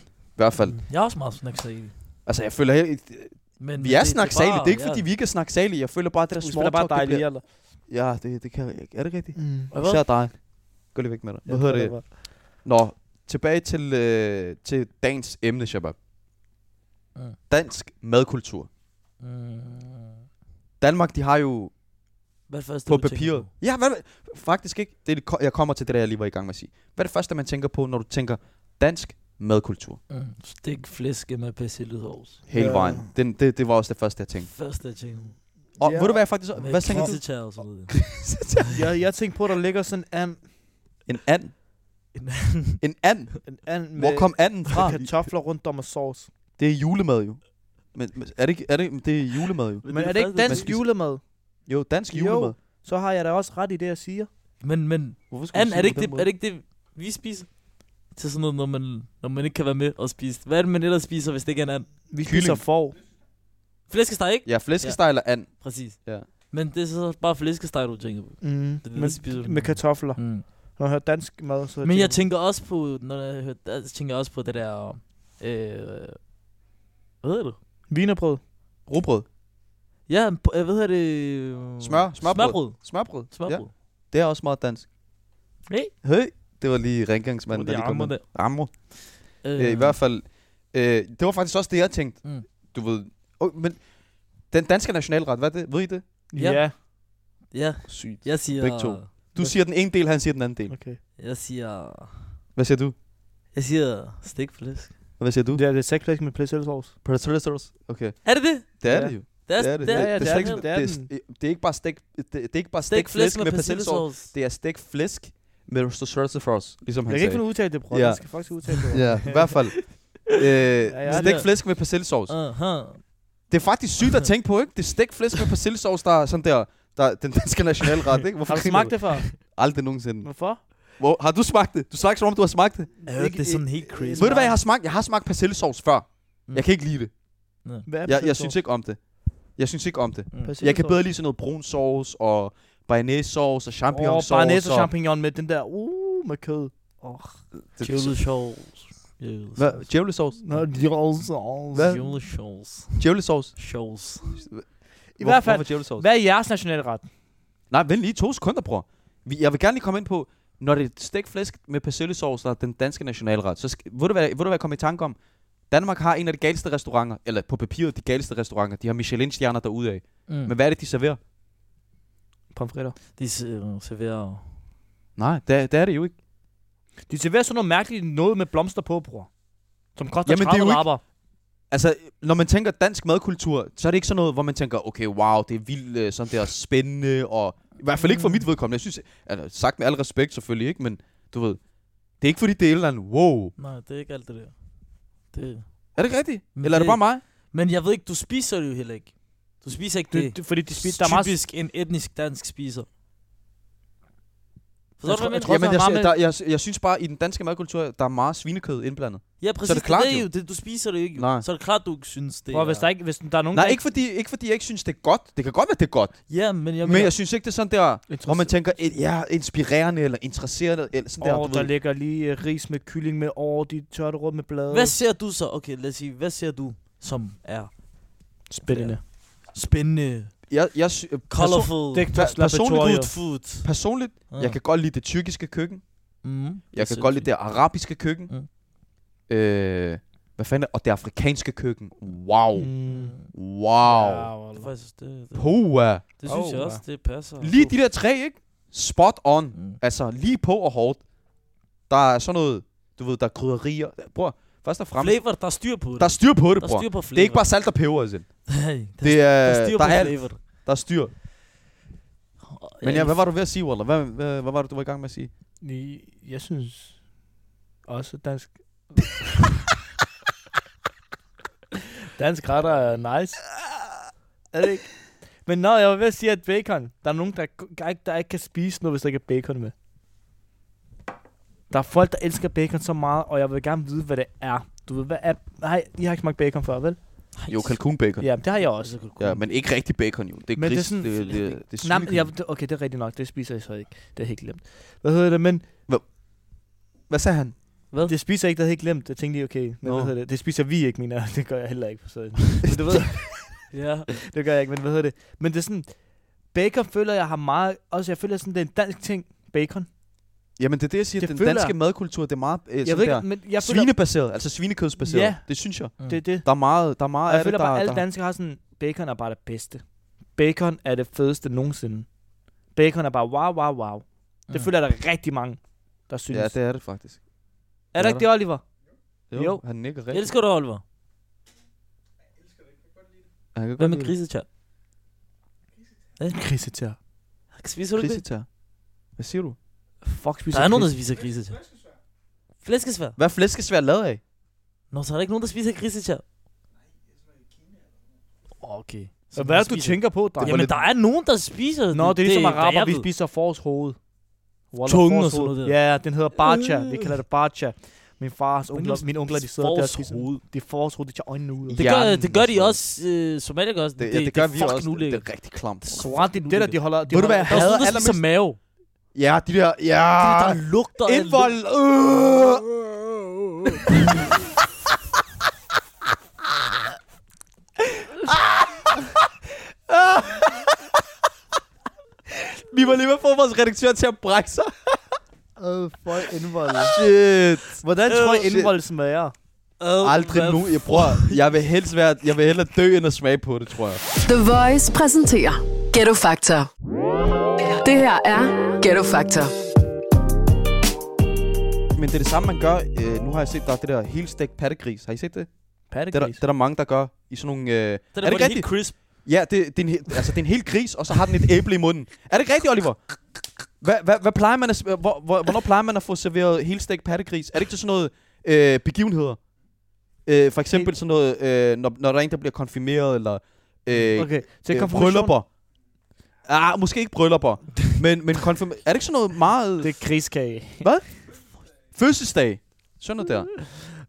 [SPEAKER 2] I hvert fald.
[SPEAKER 4] Jeg er også meget snaksalig.
[SPEAKER 2] Altså, jeg føler, jeg,
[SPEAKER 4] Men
[SPEAKER 2] vi er
[SPEAKER 4] det- det
[SPEAKER 2] snaksalige.
[SPEAKER 4] bare-
[SPEAKER 2] Det er ikke,
[SPEAKER 4] ja.
[SPEAKER 2] fordi vi ikke er snaksalige. Jeg føler bare, at det der
[SPEAKER 3] Du
[SPEAKER 2] small
[SPEAKER 3] spiller bare
[SPEAKER 2] talk, det
[SPEAKER 3] dejlig,
[SPEAKER 2] bliver...
[SPEAKER 3] eller?
[SPEAKER 2] Ja, det, det kan jeg. Er det rigtigt?
[SPEAKER 3] Mm.
[SPEAKER 4] Hvad?
[SPEAKER 2] Især dig. Gå lige væk med dig. Hvad hedder det? Nå, tilbage til, øh, til dagens emne, Shabab.
[SPEAKER 4] Mm.
[SPEAKER 2] Dansk madkultur.
[SPEAKER 4] Mm.
[SPEAKER 2] Danmark, de har jo
[SPEAKER 4] Hvad er det første,
[SPEAKER 2] på
[SPEAKER 4] du tænker
[SPEAKER 2] papiret... Ja, hvad, faktisk ikke. Det er, det ko- jeg kommer til det, der jeg lige var i gang med at sige. Hvad er det første, man tænker på, når du tænker dansk madkultur?
[SPEAKER 4] Mm. Stik flæske med persillesovs.
[SPEAKER 2] Hele
[SPEAKER 3] Ja.
[SPEAKER 2] vejen. Den, det, det var også det første, jeg tænkte.
[SPEAKER 4] Første, jeg tænker.
[SPEAKER 2] Og
[SPEAKER 3] Ja.
[SPEAKER 2] ved du hvad, jeg faktisk...
[SPEAKER 4] Med
[SPEAKER 2] Hvad tænker du?
[SPEAKER 4] grisetær og så videre.
[SPEAKER 3] Jeg, jeg tænkte på, at der ligger sådan en and,
[SPEAKER 2] En and.
[SPEAKER 4] En
[SPEAKER 2] En and.
[SPEAKER 3] en and med,
[SPEAKER 2] Hvor kom anden fra?
[SPEAKER 3] med kartofler rundt om og sovs.
[SPEAKER 2] Det er julemad jo. Men, men er det ikke... Er det, det er julemad jo.
[SPEAKER 3] Men er det ikke
[SPEAKER 4] første,
[SPEAKER 3] dansk
[SPEAKER 2] man-
[SPEAKER 3] julemad?
[SPEAKER 2] Jo, dansk
[SPEAKER 3] Jo.
[SPEAKER 2] julemad.
[SPEAKER 3] Så har jeg da også ret i det, jeg siger.
[SPEAKER 4] Men, men,
[SPEAKER 2] Hvorfor skulle
[SPEAKER 4] and,
[SPEAKER 2] du sige
[SPEAKER 4] er, det ikke
[SPEAKER 2] på den
[SPEAKER 4] det,
[SPEAKER 2] måde?
[SPEAKER 4] er det ikke det, vi spiser? Til sådan noget, når man, når man ikke kan være med og spise. Hvad er det, man ellers spiser, hvis det ikke er en and?
[SPEAKER 3] Vi
[SPEAKER 2] Kylling.
[SPEAKER 3] spiser får.
[SPEAKER 4] Flæskesteg, ikke?
[SPEAKER 2] Ja, flæskesteg eller and.
[SPEAKER 4] Præcis.
[SPEAKER 2] Ja.
[SPEAKER 4] Men det er så bare flæskesteg, du tænker på.
[SPEAKER 3] Mm.
[SPEAKER 4] det,
[SPEAKER 3] Men,
[SPEAKER 4] vi spiser.
[SPEAKER 3] med kartofler.
[SPEAKER 4] Mm.
[SPEAKER 3] Når jeg hører dansk mad, så...
[SPEAKER 4] Men jeg tænker også på, når jeg hører, der tænker jeg også på det der, øh, hvad hedder det?
[SPEAKER 3] Vinerbrød.
[SPEAKER 2] Rugbrød.
[SPEAKER 4] Ja, på- øh, hvad hedder det?
[SPEAKER 2] Smør- smørbrød.
[SPEAKER 4] Smørbrød.
[SPEAKER 2] Smørbrød.
[SPEAKER 4] Smørbrød.
[SPEAKER 2] Det er også meget dansk.
[SPEAKER 4] Hey.
[SPEAKER 2] Hey. Det var lige rengangsmanden,
[SPEAKER 4] Det var
[SPEAKER 2] der
[SPEAKER 4] lige
[SPEAKER 2] lige kom ind.
[SPEAKER 4] Amre der.
[SPEAKER 2] Amre. Øh, I hvert fald. Øh, det var faktisk også det, jeg tænkte.
[SPEAKER 4] Mm.
[SPEAKER 2] Du ved... Oh, men den danske nationalret, hvad er det? Ved I det?
[SPEAKER 4] Ja.
[SPEAKER 3] Ja.
[SPEAKER 4] Ja,
[SPEAKER 2] Sygt.
[SPEAKER 4] jeg siger...
[SPEAKER 2] Begge to. Du
[SPEAKER 3] Hvad?
[SPEAKER 2] siger den ene del, han siger den anden del.
[SPEAKER 3] Okay.
[SPEAKER 4] Jeg siger...
[SPEAKER 2] Hvad siger du?
[SPEAKER 4] Jeg siger stikflæsk.
[SPEAKER 2] Og hvad siger du?
[SPEAKER 3] Det er det sexflæsk med persillesovs.
[SPEAKER 2] Predators. Okay.
[SPEAKER 4] Er det det?
[SPEAKER 2] Det er
[SPEAKER 3] Ja.
[SPEAKER 2] det jo.
[SPEAKER 4] Det
[SPEAKER 2] Det er det.
[SPEAKER 4] Altså, det,
[SPEAKER 3] Ja, ja,
[SPEAKER 4] er,
[SPEAKER 3] det
[SPEAKER 2] Det
[SPEAKER 3] er
[SPEAKER 2] er
[SPEAKER 3] den.
[SPEAKER 2] stik-
[SPEAKER 3] Det er
[SPEAKER 2] det er
[SPEAKER 3] den.
[SPEAKER 2] st- det er ikke bare stik, det, det er ikke bare
[SPEAKER 4] Stik flæsk
[SPEAKER 2] stikflæsk
[SPEAKER 4] med,
[SPEAKER 2] med persillesauce.
[SPEAKER 4] persillesauce.
[SPEAKER 2] Det er stikflæsk med Rostocertifros, ligesom
[SPEAKER 3] Jeg
[SPEAKER 2] han
[SPEAKER 3] kan ikke finde
[SPEAKER 2] sagde.
[SPEAKER 3] ud af at udtale det, bror.
[SPEAKER 2] Ja.
[SPEAKER 3] Jeg skal faktisk udtale det.
[SPEAKER 2] Ja, i hvert fald.
[SPEAKER 3] ja,
[SPEAKER 2] Øh,
[SPEAKER 4] det-
[SPEAKER 2] stikflæsk med persillesauce.
[SPEAKER 4] Øh. Aha.
[SPEAKER 2] Det er faktisk sygt at tænke på, ikke? Det er stikflæsk med persillesauce, der er sådan der, der er den danske nationalret, ikke? Hvorfor
[SPEAKER 3] Har du
[SPEAKER 2] griner
[SPEAKER 3] smagt det før?
[SPEAKER 2] Aldrig nogensinde.
[SPEAKER 3] Hvorfor?
[SPEAKER 2] Hvor, har du smagt det? Du snakker som om, du har smagt det.
[SPEAKER 4] Jeg hørte, det er sådan helt crazy.
[SPEAKER 2] Ved du, hvad jeg har smagt? Jeg har smagt persillesauce før.
[SPEAKER 4] Mm.
[SPEAKER 2] Jeg kan ikke lide det.
[SPEAKER 3] Hvad er
[SPEAKER 2] Jeg, jeg synes ikke om det. Jeg synes ikke om det. Jeg kan bedre lide sådan noget brun sauce og bearnaise sauce og champignon sauce.
[SPEAKER 3] Åh, Barnæs og champignon med den der, uh, med kød.
[SPEAKER 4] Jule Shows.
[SPEAKER 2] Hvad? Djævlesauce?
[SPEAKER 3] Nå, de roser.
[SPEAKER 4] Jule Shows.
[SPEAKER 2] Djævlesauce?
[SPEAKER 4] Shows.
[SPEAKER 3] I hvert fald,
[SPEAKER 2] Hvorfor djævlesauce?
[SPEAKER 3] hvad er jeres nationalret?
[SPEAKER 2] Nej, vent lige to sekunder, bror. Vi, jeg vil gerne lige komme ind på, når det er stegt flæsk med persillesauce, der er den danske nationalret, så skal, ved, du, hvad, ved du, hvad jeg kom i tanke om? Danmark har en af de galeste restauranter, eller på papiret de galeste restauranter. De har Michelin-stjerner derude af. Mm. Men
[SPEAKER 4] Mm.
[SPEAKER 2] hvad er det, de serverer?
[SPEAKER 3] Pomfritter.
[SPEAKER 4] De ser- øh, serverer...
[SPEAKER 2] Nej, det, det er det jo ikke.
[SPEAKER 3] De serverer sådan noget mærkeligt noget med blomster på, bror. Som koster
[SPEAKER 2] Jamen, det er
[SPEAKER 3] 30
[SPEAKER 2] jo ikke-
[SPEAKER 3] lapper.
[SPEAKER 2] Altså, når man tænker dansk madkultur, så er det ikke sådan noget, hvor man tænker, okay, wow, det er vildt øh, sådan der spændende, og i hvert fald ikke for mit vedkommende. Jeg synes, altså, sagt med al respekt selvfølgelig ikke, men du ved, det er ikke fordi, det er et eller andet, wow.
[SPEAKER 4] Nej, det er ikke alt det der. Det.
[SPEAKER 2] Er det ikke rigtigt?
[SPEAKER 4] Men
[SPEAKER 2] Eller er det
[SPEAKER 4] det-
[SPEAKER 2] bare mig?
[SPEAKER 4] Men jeg ved ikke, du spiser det jo heller ikke. Du spiser ikke det.
[SPEAKER 3] Det, det, fordi de spiser, der er meget...
[SPEAKER 4] Typisk en etnisk dansk spiser. Forstår
[SPEAKER 3] Jeg
[SPEAKER 4] du,
[SPEAKER 3] tror-
[SPEAKER 4] hvad
[SPEAKER 3] jeg
[SPEAKER 4] jeg mener?
[SPEAKER 3] tror-
[SPEAKER 2] Jamen, jeg,
[SPEAKER 3] også,
[SPEAKER 2] jeg,
[SPEAKER 3] der
[SPEAKER 2] der, jeg, jeg synes bare, i den danske madkultur, der er meget svinekød indblandet.
[SPEAKER 4] Ja, præcis.
[SPEAKER 2] det klart,
[SPEAKER 4] er
[SPEAKER 2] jo.
[SPEAKER 4] jo. Det, du spiser det jo ikke. jo.
[SPEAKER 2] Nej.
[SPEAKER 4] Så er det klart, du ikke synes det.
[SPEAKER 3] Bror, hvis der,
[SPEAKER 4] er-
[SPEAKER 3] ikke, hvis der er nogen,
[SPEAKER 2] Nej,
[SPEAKER 3] der
[SPEAKER 2] ikke fordi, ikke fordi jeg ikke synes, det er godt. Det kan godt være, det er godt.
[SPEAKER 4] Ja, men jeg
[SPEAKER 2] Jamen, men jeg synes ikke, det er sådan der,
[SPEAKER 3] Interesse-
[SPEAKER 2] hvor man tænker, et, ja, inspirerende eller interesserende, eller sådan der.
[SPEAKER 3] Åh,
[SPEAKER 2] du
[SPEAKER 3] der
[SPEAKER 2] ved.
[SPEAKER 3] ligger lige øh, ris med kylling med over de tørte rød med blade.
[SPEAKER 4] Hvad ser du så? Okay, lad os sige, hvad ser du, som er
[SPEAKER 3] Spændende.
[SPEAKER 4] spændende,
[SPEAKER 2] Jeg, jeg, sy- øh, perso-
[SPEAKER 4] Colorful.
[SPEAKER 3] Dick Test
[SPEAKER 2] personligt
[SPEAKER 3] Laboratorio.
[SPEAKER 4] Good food.
[SPEAKER 2] personligt,
[SPEAKER 3] Ah.
[SPEAKER 4] Ja.
[SPEAKER 2] jeg kan godt lide det tyrkiske køkken.
[SPEAKER 4] Mm.
[SPEAKER 2] Jeg kan godt lide det arabiske køkken.
[SPEAKER 3] Mm.
[SPEAKER 2] Øh, hvad fanden? er- Og det afrikanske køkken. Wow.
[SPEAKER 3] Mm.
[SPEAKER 2] Wow.
[SPEAKER 4] Det, er faktisk, det, det,
[SPEAKER 2] Pua.
[SPEAKER 4] det synes jeg
[SPEAKER 3] Oh,
[SPEAKER 4] også, det passer.
[SPEAKER 2] Lige de der tre, ikke? Spot on.
[SPEAKER 4] Mm.
[SPEAKER 2] Altså, lige på og hårdt. Der er sådan noget, du ved, der er krydderier. Bror, først og fremmest,
[SPEAKER 4] Flavor, der er styr på det.
[SPEAKER 2] der er styr på det,
[SPEAKER 4] Der
[SPEAKER 2] bror.
[SPEAKER 4] styr på flavor.
[SPEAKER 2] Det er ikke bare salt og peber, altså.
[SPEAKER 4] Nej, der,
[SPEAKER 2] Det
[SPEAKER 4] der er
[SPEAKER 2] er,
[SPEAKER 4] styr
[SPEAKER 2] der
[SPEAKER 4] på
[SPEAKER 2] er, alt.
[SPEAKER 4] flavor.
[SPEAKER 2] der er styr. Men ja, hvad var du ved at sige, Waller? Hvad, hvad, hvad var det, du var i gang med at sige?
[SPEAKER 3] I- Jeg synes også dansk... dansk retter er nice. Er det ikke? Men nå, jeg var ved at sige, at bacon... Der er nogen, der, k- der, ikke, der ikke kan spise noget, hvis der ikke er bacon med. Der er folk, der elsker bacon så meget, og jeg vil gerne vide, hvad det er. Du ved, hvad er... Nej, I har ikke smagt bacon før, vel?
[SPEAKER 2] Jo, kalkunbacon.
[SPEAKER 3] Ja, det har jeg også.
[SPEAKER 2] Ja, men ikke rigtig bacon, jo. Det er
[SPEAKER 3] Men det er
[SPEAKER 2] gris, det er,
[SPEAKER 3] sådan-
[SPEAKER 2] det, det, det er
[SPEAKER 3] Nej, men
[SPEAKER 2] svinekød.
[SPEAKER 3] jeg, det- okay, det er rigtigt nok. Det spiser jeg så ikke. Det er helt glemt. Hvad hedder det? Men
[SPEAKER 2] Hvad sagde han?
[SPEAKER 4] Hvad?
[SPEAKER 3] Det spiser jeg ikke, det havde jeg ikke glemt. Jeg tænkte lige, okay, men
[SPEAKER 2] Nå.
[SPEAKER 3] hvad hedder det? Det spiser vi ikke, mener jeg. Det gør jeg heller ikke. Så. Men du ved,
[SPEAKER 4] Ja.
[SPEAKER 3] det gør jeg ikke, men hvad hedder det? Men det er sådan, bacon føler jeg har meget, også jeg føler sådan, det er en dansk ting, bacon.
[SPEAKER 2] Jamen, det er det, jeg siger.
[SPEAKER 3] Det
[SPEAKER 2] den
[SPEAKER 3] føler
[SPEAKER 2] danske
[SPEAKER 3] jeg.
[SPEAKER 2] madkultur, det er meget øh,
[SPEAKER 3] Jeg
[SPEAKER 2] sådan
[SPEAKER 3] ved ikke,
[SPEAKER 2] der.
[SPEAKER 3] men jeg føler,
[SPEAKER 2] Svinebaseret, altså svinekødsbaseret.
[SPEAKER 3] Ja.
[SPEAKER 2] Det synes jeg.
[SPEAKER 3] det er det.
[SPEAKER 2] Der er meget, der er meget
[SPEAKER 3] Og jeg
[SPEAKER 2] af
[SPEAKER 3] føler
[SPEAKER 2] det, der,
[SPEAKER 3] bare, at alle
[SPEAKER 2] der,
[SPEAKER 3] danskere har sådan, bacon er bare det bedste. Bacon er det fedeste nogensinde. Bacon er bare wow, wow, wow. Det føler jeg, der er rigtig mange, der synes.
[SPEAKER 2] Ja, det er det faktisk.
[SPEAKER 3] er der
[SPEAKER 2] er
[SPEAKER 3] ikke det, Oliver?
[SPEAKER 2] Jo,
[SPEAKER 3] Jo.
[SPEAKER 2] han nikker
[SPEAKER 4] jeg.
[SPEAKER 2] rigtigt.
[SPEAKER 4] Elsker du, Oliver?
[SPEAKER 2] Han kan
[SPEAKER 4] Hvad
[SPEAKER 2] godt
[SPEAKER 4] med
[SPEAKER 2] lide
[SPEAKER 4] grisetjær?
[SPEAKER 3] Grisetær.
[SPEAKER 4] Spiser du ikke det?
[SPEAKER 2] Grisetær. Hvad siger du?
[SPEAKER 3] Fuck, spiser
[SPEAKER 4] Der er nogen, der
[SPEAKER 3] gris.
[SPEAKER 4] spiser grisetjær. Flæskesvær.
[SPEAKER 2] Hvad er flæskesvær lavet af?
[SPEAKER 4] Nå, så er der ikke nogen, der spiser grisetjær. Okay.
[SPEAKER 3] Hvad er
[SPEAKER 4] Så
[SPEAKER 3] det,
[SPEAKER 4] man
[SPEAKER 3] du
[SPEAKER 4] spiser-
[SPEAKER 3] tænker på, dreng?
[SPEAKER 2] var
[SPEAKER 4] Jamen,
[SPEAKER 2] lidt-
[SPEAKER 4] der er nogen, der spiser
[SPEAKER 3] Nå, det er ligesom
[SPEAKER 4] der
[SPEAKER 3] araber,
[SPEAKER 4] jeg
[SPEAKER 3] vi
[SPEAKER 4] ved.
[SPEAKER 3] spiser fors hoved. Wallah,
[SPEAKER 4] Tungen
[SPEAKER 3] fårs
[SPEAKER 4] og sådan
[SPEAKER 3] hoved.
[SPEAKER 4] noget der.
[SPEAKER 3] Ja, ja, den hedder barcha. Vi
[SPEAKER 4] Øh.
[SPEAKER 3] kalder det barcha. Min fars onkler,
[SPEAKER 4] Yndlings-
[SPEAKER 3] mine onkler, de sidder der og
[SPEAKER 4] fårs
[SPEAKER 3] spiser.
[SPEAKER 4] hoved.
[SPEAKER 3] Det er fors hoved, de tager øjnene ud.
[SPEAKER 4] Det
[SPEAKER 2] Hjernen
[SPEAKER 4] gør, det gør
[SPEAKER 2] og sådan
[SPEAKER 4] de
[SPEAKER 2] noget.
[SPEAKER 4] også. Øh, somalier gør også.
[SPEAKER 2] Det, ja, det, gør
[SPEAKER 4] er
[SPEAKER 2] vi
[SPEAKER 4] fucking
[SPEAKER 2] også. Det,
[SPEAKER 4] ulækkert.
[SPEAKER 2] det er rigtig klamt.
[SPEAKER 4] Det er så
[SPEAKER 3] Wow, det er det, der de holder... De
[SPEAKER 2] Ved du, hvad jeg
[SPEAKER 4] Der er også
[SPEAKER 2] hader
[SPEAKER 4] nogen, der spiser
[SPEAKER 2] allermest-
[SPEAKER 4] mave.
[SPEAKER 2] Ja, de der... Ja!
[SPEAKER 4] Ah, der lugter af
[SPEAKER 2] Indvold! Øh!
[SPEAKER 4] lugt.
[SPEAKER 2] Vi var lige ved at få vores redaktør til at brække sig.
[SPEAKER 3] Øh, for indvold.
[SPEAKER 2] Shit.
[SPEAKER 3] Hvordan tror I
[SPEAKER 4] Øh, shit.
[SPEAKER 3] indvold smager?
[SPEAKER 4] Øh,
[SPEAKER 2] Aldrig
[SPEAKER 4] hvad
[SPEAKER 2] nu. Jeg, bror, jeg vil helst være, jeg vil hellere dø, end at smage på det, tror jeg.
[SPEAKER 1] The Voice præsenterer Ghetto Factor. Det her er Ghetto Factor.
[SPEAKER 2] Men det er det samme, man gør. Øh, nu har jeg set, der er det der helstegt pattegris. Har I set det? Det er, der,
[SPEAKER 3] Pattegris.
[SPEAKER 2] det er der mange, der gør i sådan nogle... Øh...
[SPEAKER 4] Det
[SPEAKER 2] Er
[SPEAKER 4] er
[SPEAKER 2] det
[SPEAKER 4] det
[SPEAKER 2] rigtigt?
[SPEAKER 4] helt crisp.
[SPEAKER 2] Ja, det, det, er en, hel- altså, det er en hel gris, og så har den et æble i munden. Er det ikke rigtigt, Oliver? Hvad, hvad, hvad plejer man at, s- hvor, hvor, hvornår plejer man at få serveret helstegt pattegris? Er det ikke til sådan noget øh, begivenheder? Øh, for eksempel sådan noget, øh, når, når der er en, der bliver konfirmeret, eller øh, okay.
[SPEAKER 3] Okay, til
[SPEAKER 2] øh,
[SPEAKER 3] konfirmation.
[SPEAKER 2] bryllupper. Ah, måske ikke bryllupper, men, men konfirm- er det ikke sådan noget meget
[SPEAKER 3] Det er griskage.
[SPEAKER 2] fødselsdag? Sådan noget der.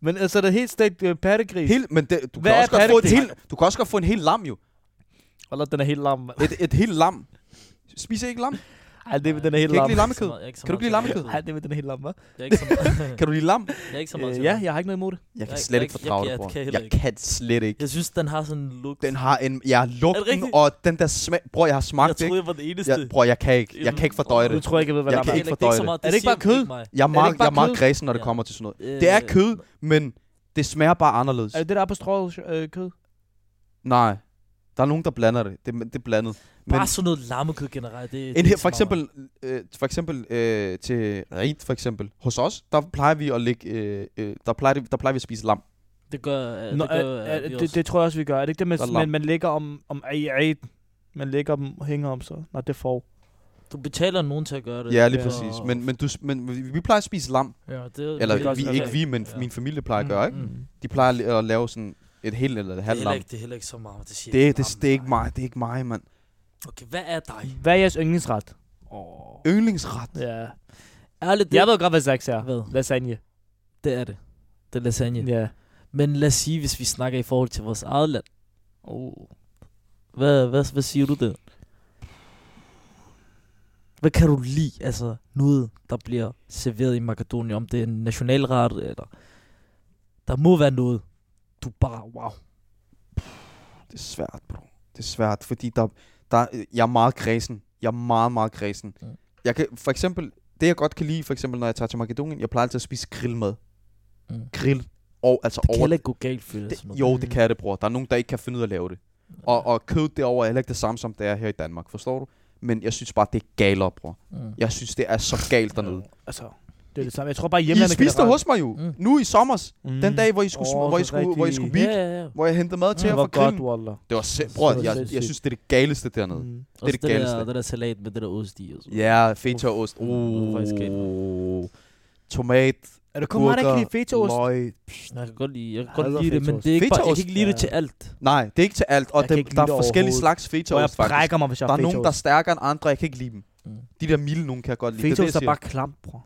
[SPEAKER 3] Men altså, det er helt stegt øh, pattegris.
[SPEAKER 2] Helt, men det, du,
[SPEAKER 3] Hvad
[SPEAKER 2] kan
[SPEAKER 3] er
[SPEAKER 2] også godt få et
[SPEAKER 3] pattegris?
[SPEAKER 2] helt, du kan også godt få en hel lam, jo.
[SPEAKER 3] Eller den er helt lam. mand.
[SPEAKER 2] Et, et helt lam. Spiser I ikke lam?
[SPEAKER 3] Ej, det er den er helt
[SPEAKER 2] Kan I
[SPEAKER 3] lam.
[SPEAKER 2] ikke lide lammekød? Kan du ikke lide lammekød?
[SPEAKER 3] Ej, det er den er helt lam, hva'?
[SPEAKER 4] Jeg er ikke så meget.
[SPEAKER 2] Kan du lide lam?
[SPEAKER 4] Jeg er ikke så meget.
[SPEAKER 3] Øh,
[SPEAKER 4] til
[SPEAKER 3] Ja,
[SPEAKER 4] det.
[SPEAKER 3] jeg har ikke noget imod det.
[SPEAKER 2] Jeg kan
[SPEAKER 4] Jeg-
[SPEAKER 2] slet
[SPEAKER 4] jeg-
[SPEAKER 2] ikke fordrage
[SPEAKER 4] jeg-
[SPEAKER 2] det,
[SPEAKER 4] jeg
[SPEAKER 2] bror.
[SPEAKER 4] kan heller
[SPEAKER 2] Jeg kan slet ikke.
[SPEAKER 4] Jeg synes, den har sådan en look.
[SPEAKER 2] Den har en... Ja, lugten
[SPEAKER 4] rigtigt?
[SPEAKER 2] og den der smag... Bror, jeg har
[SPEAKER 4] Jeg
[SPEAKER 2] smagt det,
[SPEAKER 4] troede,
[SPEAKER 2] ikke?
[SPEAKER 4] jeg var den eneste.
[SPEAKER 2] Jeg, bror, jeg kan ikke. Jeg kan ikke fordøje
[SPEAKER 3] Du
[SPEAKER 2] det.
[SPEAKER 3] tror ikke, jeg ved, hvad
[SPEAKER 2] Jeg
[SPEAKER 3] der
[SPEAKER 2] kan
[SPEAKER 3] er.
[SPEAKER 2] ikke
[SPEAKER 4] det er
[SPEAKER 2] fordøje
[SPEAKER 4] så
[SPEAKER 2] det.
[SPEAKER 4] meget-
[SPEAKER 3] Er det ikke
[SPEAKER 4] siger
[SPEAKER 3] bare kød?
[SPEAKER 4] ikke mig.
[SPEAKER 2] Jeg er
[SPEAKER 3] det
[SPEAKER 2] meget,
[SPEAKER 3] ikke
[SPEAKER 2] jeg
[SPEAKER 3] bare
[SPEAKER 2] er meget
[SPEAKER 3] kød?
[SPEAKER 2] græsen, når det
[SPEAKER 4] Ja.
[SPEAKER 2] kommer til sådan noget.
[SPEAKER 4] Øh,
[SPEAKER 2] Det er kød, men det smager bare anderledes.
[SPEAKER 3] Er det det, der er på strået øh, kød?
[SPEAKER 2] Nej. Der er nogen, der blander det. Det, er- det er blandet. Men
[SPEAKER 4] Bare sådan noget lammekød generelt. Det, det er
[SPEAKER 2] en, her-
[SPEAKER 4] ikke så
[SPEAKER 2] for
[SPEAKER 4] meget
[SPEAKER 2] eksempel, øh, for eksempel øh, til Rit, for eksempel. Hos os, der plejer vi at ligge... Øh, øh, der, plejer, det- der plejer vi at spise lam.
[SPEAKER 4] mig. Det gør, øh,
[SPEAKER 3] Nå,
[SPEAKER 4] det, gør
[SPEAKER 3] er, er,
[SPEAKER 4] vi
[SPEAKER 3] det,
[SPEAKER 4] også.
[SPEAKER 3] det tror jeg også, vi gør. Er det ikke det, man,
[SPEAKER 2] Der er lam.
[SPEAKER 3] man, man ligger om, om ej, ej, man ligger dem og hænger om så? Nej, det får.
[SPEAKER 4] Du betaler nogen til at gøre det.
[SPEAKER 2] Ja, lige
[SPEAKER 3] Ja.
[SPEAKER 2] præcis. Men, men, du, men vi- vi plejer at spise lam.
[SPEAKER 4] Ja, det,
[SPEAKER 2] Eller
[SPEAKER 3] Det er
[SPEAKER 2] vi,
[SPEAKER 3] også
[SPEAKER 2] ikke
[SPEAKER 3] okay.
[SPEAKER 2] vi, men
[SPEAKER 4] altså. Ja.
[SPEAKER 2] min familie plejer at gøre, ikke?
[SPEAKER 4] Mm.
[SPEAKER 2] De plejer at la- at lave sådan et helt eller et
[SPEAKER 4] Det er
[SPEAKER 2] halvt
[SPEAKER 4] heller
[SPEAKER 2] lam.
[SPEAKER 4] ikke, det er heller ikke så meget. Det, siger
[SPEAKER 2] Det, er-
[SPEAKER 4] ikke
[SPEAKER 2] det,
[SPEAKER 4] meget om
[SPEAKER 2] det er ikke mig, det er ikke mig, mand.
[SPEAKER 4] Okay, hvad er dig?
[SPEAKER 3] Hvad er jeres yndlingsret?
[SPEAKER 4] Oh.
[SPEAKER 2] Yndlingsret.
[SPEAKER 3] Ja.
[SPEAKER 4] Ærligt, det,
[SPEAKER 3] Jeg ved godt, hvad Zax er.
[SPEAKER 4] Hvad?
[SPEAKER 3] Lasagne.
[SPEAKER 4] det er det. Det er lasagne. Yeah.
[SPEAKER 3] Ja.
[SPEAKER 4] Men lad os sige, hvis vi snakker i forhold til vores eget land. Oh. Hvad, hvad, hvad siger du der? Hvad kan du lide? Altså noget, der bliver serveret i Makedonien, om det er en nationalret, eller... Der må være noget, du bare, wow.
[SPEAKER 2] Det er svært, bro. Det er svært, fordi der, der, jeg er meget kredsen. Jeg er meget, meget kredsen.
[SPEAKER 4] Ja.
[SPEAKER 2] Ja. Jeg kan, for eksempel, det jeg godt kan lide, for eksempel når jeg tager til Makedonien, jeg plejer altid at spise grillmad.
[SPEAKER 4] Mm.
[SPEAKER 2] Grill. Og altså
[SPEAKER 4] Det kan
[SPEAKER 2] over...
[SPEAKER 4] heller ikke gå galt, føler jeg. sådan
[SPEAKER 2] Det,
[SPEAKER 4] noget.
[SPEAKER 2] jo, det kan det, bror. Der er nogen, der ikke kan finde ud af at lave det. Og, og kød derovre er heller ikke det samme, som det er her i Danmark. Forstår du? Men jeg synes bare, det er galere, bror.
[SPEAKER 4] Mm.
[SPEAKER 2] Jeg synes, det er så galt dernede.
[SPEAKER 3] Altså, det er det samme. Jeg tror bare
[SPEAKER 2] I
[SPEAKER 3] hjemlandet
[SPEAKER 2] spiste
[SPEAKER 3] generelt-
[SPEAKER 2] hos mig jo.
[SPEAKER 4] Mm.
[SPEAKER 2] Nu i sommer.
[SPEAKER 3] Mm.
[SPEAKER 2] Den dag, hvor I skulle,
[SPEAKER 3] Åh,
[SPEAKER 2] oh, hvor I
[SPEAKER 3] så
[SPEAKER 2] skulle, hvor I
[SPEAKER 3] rigtig-
[SPEAKER 2] skulle
[SPEAKER 4] Ja,
[SPEAKER 2] bike,
[SPEAKER 4] ja, ja.
[SPEAKER 2] hvor jeg hentede mad til
[SPEAKER 3] Det
[SPEAKER 2] jer
[SPEAKER 3] var
[SPEAKER 2] fra
[SPEAKER 3] Mm. godt,
[SPEAKER 2] grillen.
[SPEAKER 3] Waller.
[SPEAKER 2] Det var se- bror,
[SPEAKER 4] Det var
[SPEAKER 2] jeg, jeg
[SPEAKER 3] sindssygt.
[SPEAKER 2] synes, det er det galeste dernede. Mm.
[SPEAKER 3] Mm.
[SPEAKER 4] Også det, det, der,
[SPEAKER 2] galeste.
[SPEAKER 4] det der salat med det der ost i. Og sådan.
[SPEAKER 2] Ja, feta og
[SPEAKER 3] Mm.
[SPEAKER 2] ost.
[SPEAKER 4] Det var faktisk galt.
[SPEAKER 2] Uh, tomat,
[SPEAKER 3] Er det kun mig, der ikke kan lide fetaost?
[SPEAKER 2] løg.
[SPEAKER 4] Jeg kan godt lide, jeg kan
[SPEAKER 3] Jeg
[SPEAKER 4] godt
[SPEAKER 3] hader
[SPEAKER 4] lide det, men
[SPEAKER 3] fetaost.
[SPEAKER 4] det er ikke bare, jeg
[SPEAKER 2] Fetaost,
[SPEAKER 4] kan ikke lide det
[SPEAKER 3] ja.
[SPEAKER 4] til alt.
[SPEAKER 2] Nej, det er ikke til alt. Og
[SPEAKER 3] Jeg kan
[SPEAKER 2] dem,
[SPEAKER 3] ikke lide
[SPEAKER 2] der er
[SPEAKER 3] det
[SPEAKER 2] forskellige
[SPEAKER 3] overhovedet.
[SPEAKER 2] slags
[SPEAKER 3] Hvor jeg
[SPEAKER 2] fetaost, faktisk.
[SPEAKER 3] brækker mig, hvis jeg
[SPEAKER 2] Der
[SPEAKER 3] har
[SPEAKER 2] er nogen, der er
[SPEAKER 3] fetaost.
[SPEAKER 2] stærkere end andre. Jeg kan ikke lide dem.
[SPEAKER 4] Mm.
[SPEAKER 2] De der milde nogen kan jeg godt lide. Det er det,
[SPEAKER 3] Fetaost
[SPEAKER 2] jeg
[SPEAKER 3] er
[SPEAKER 2] siger.
[SPEAKER 3] bare klamt, bror.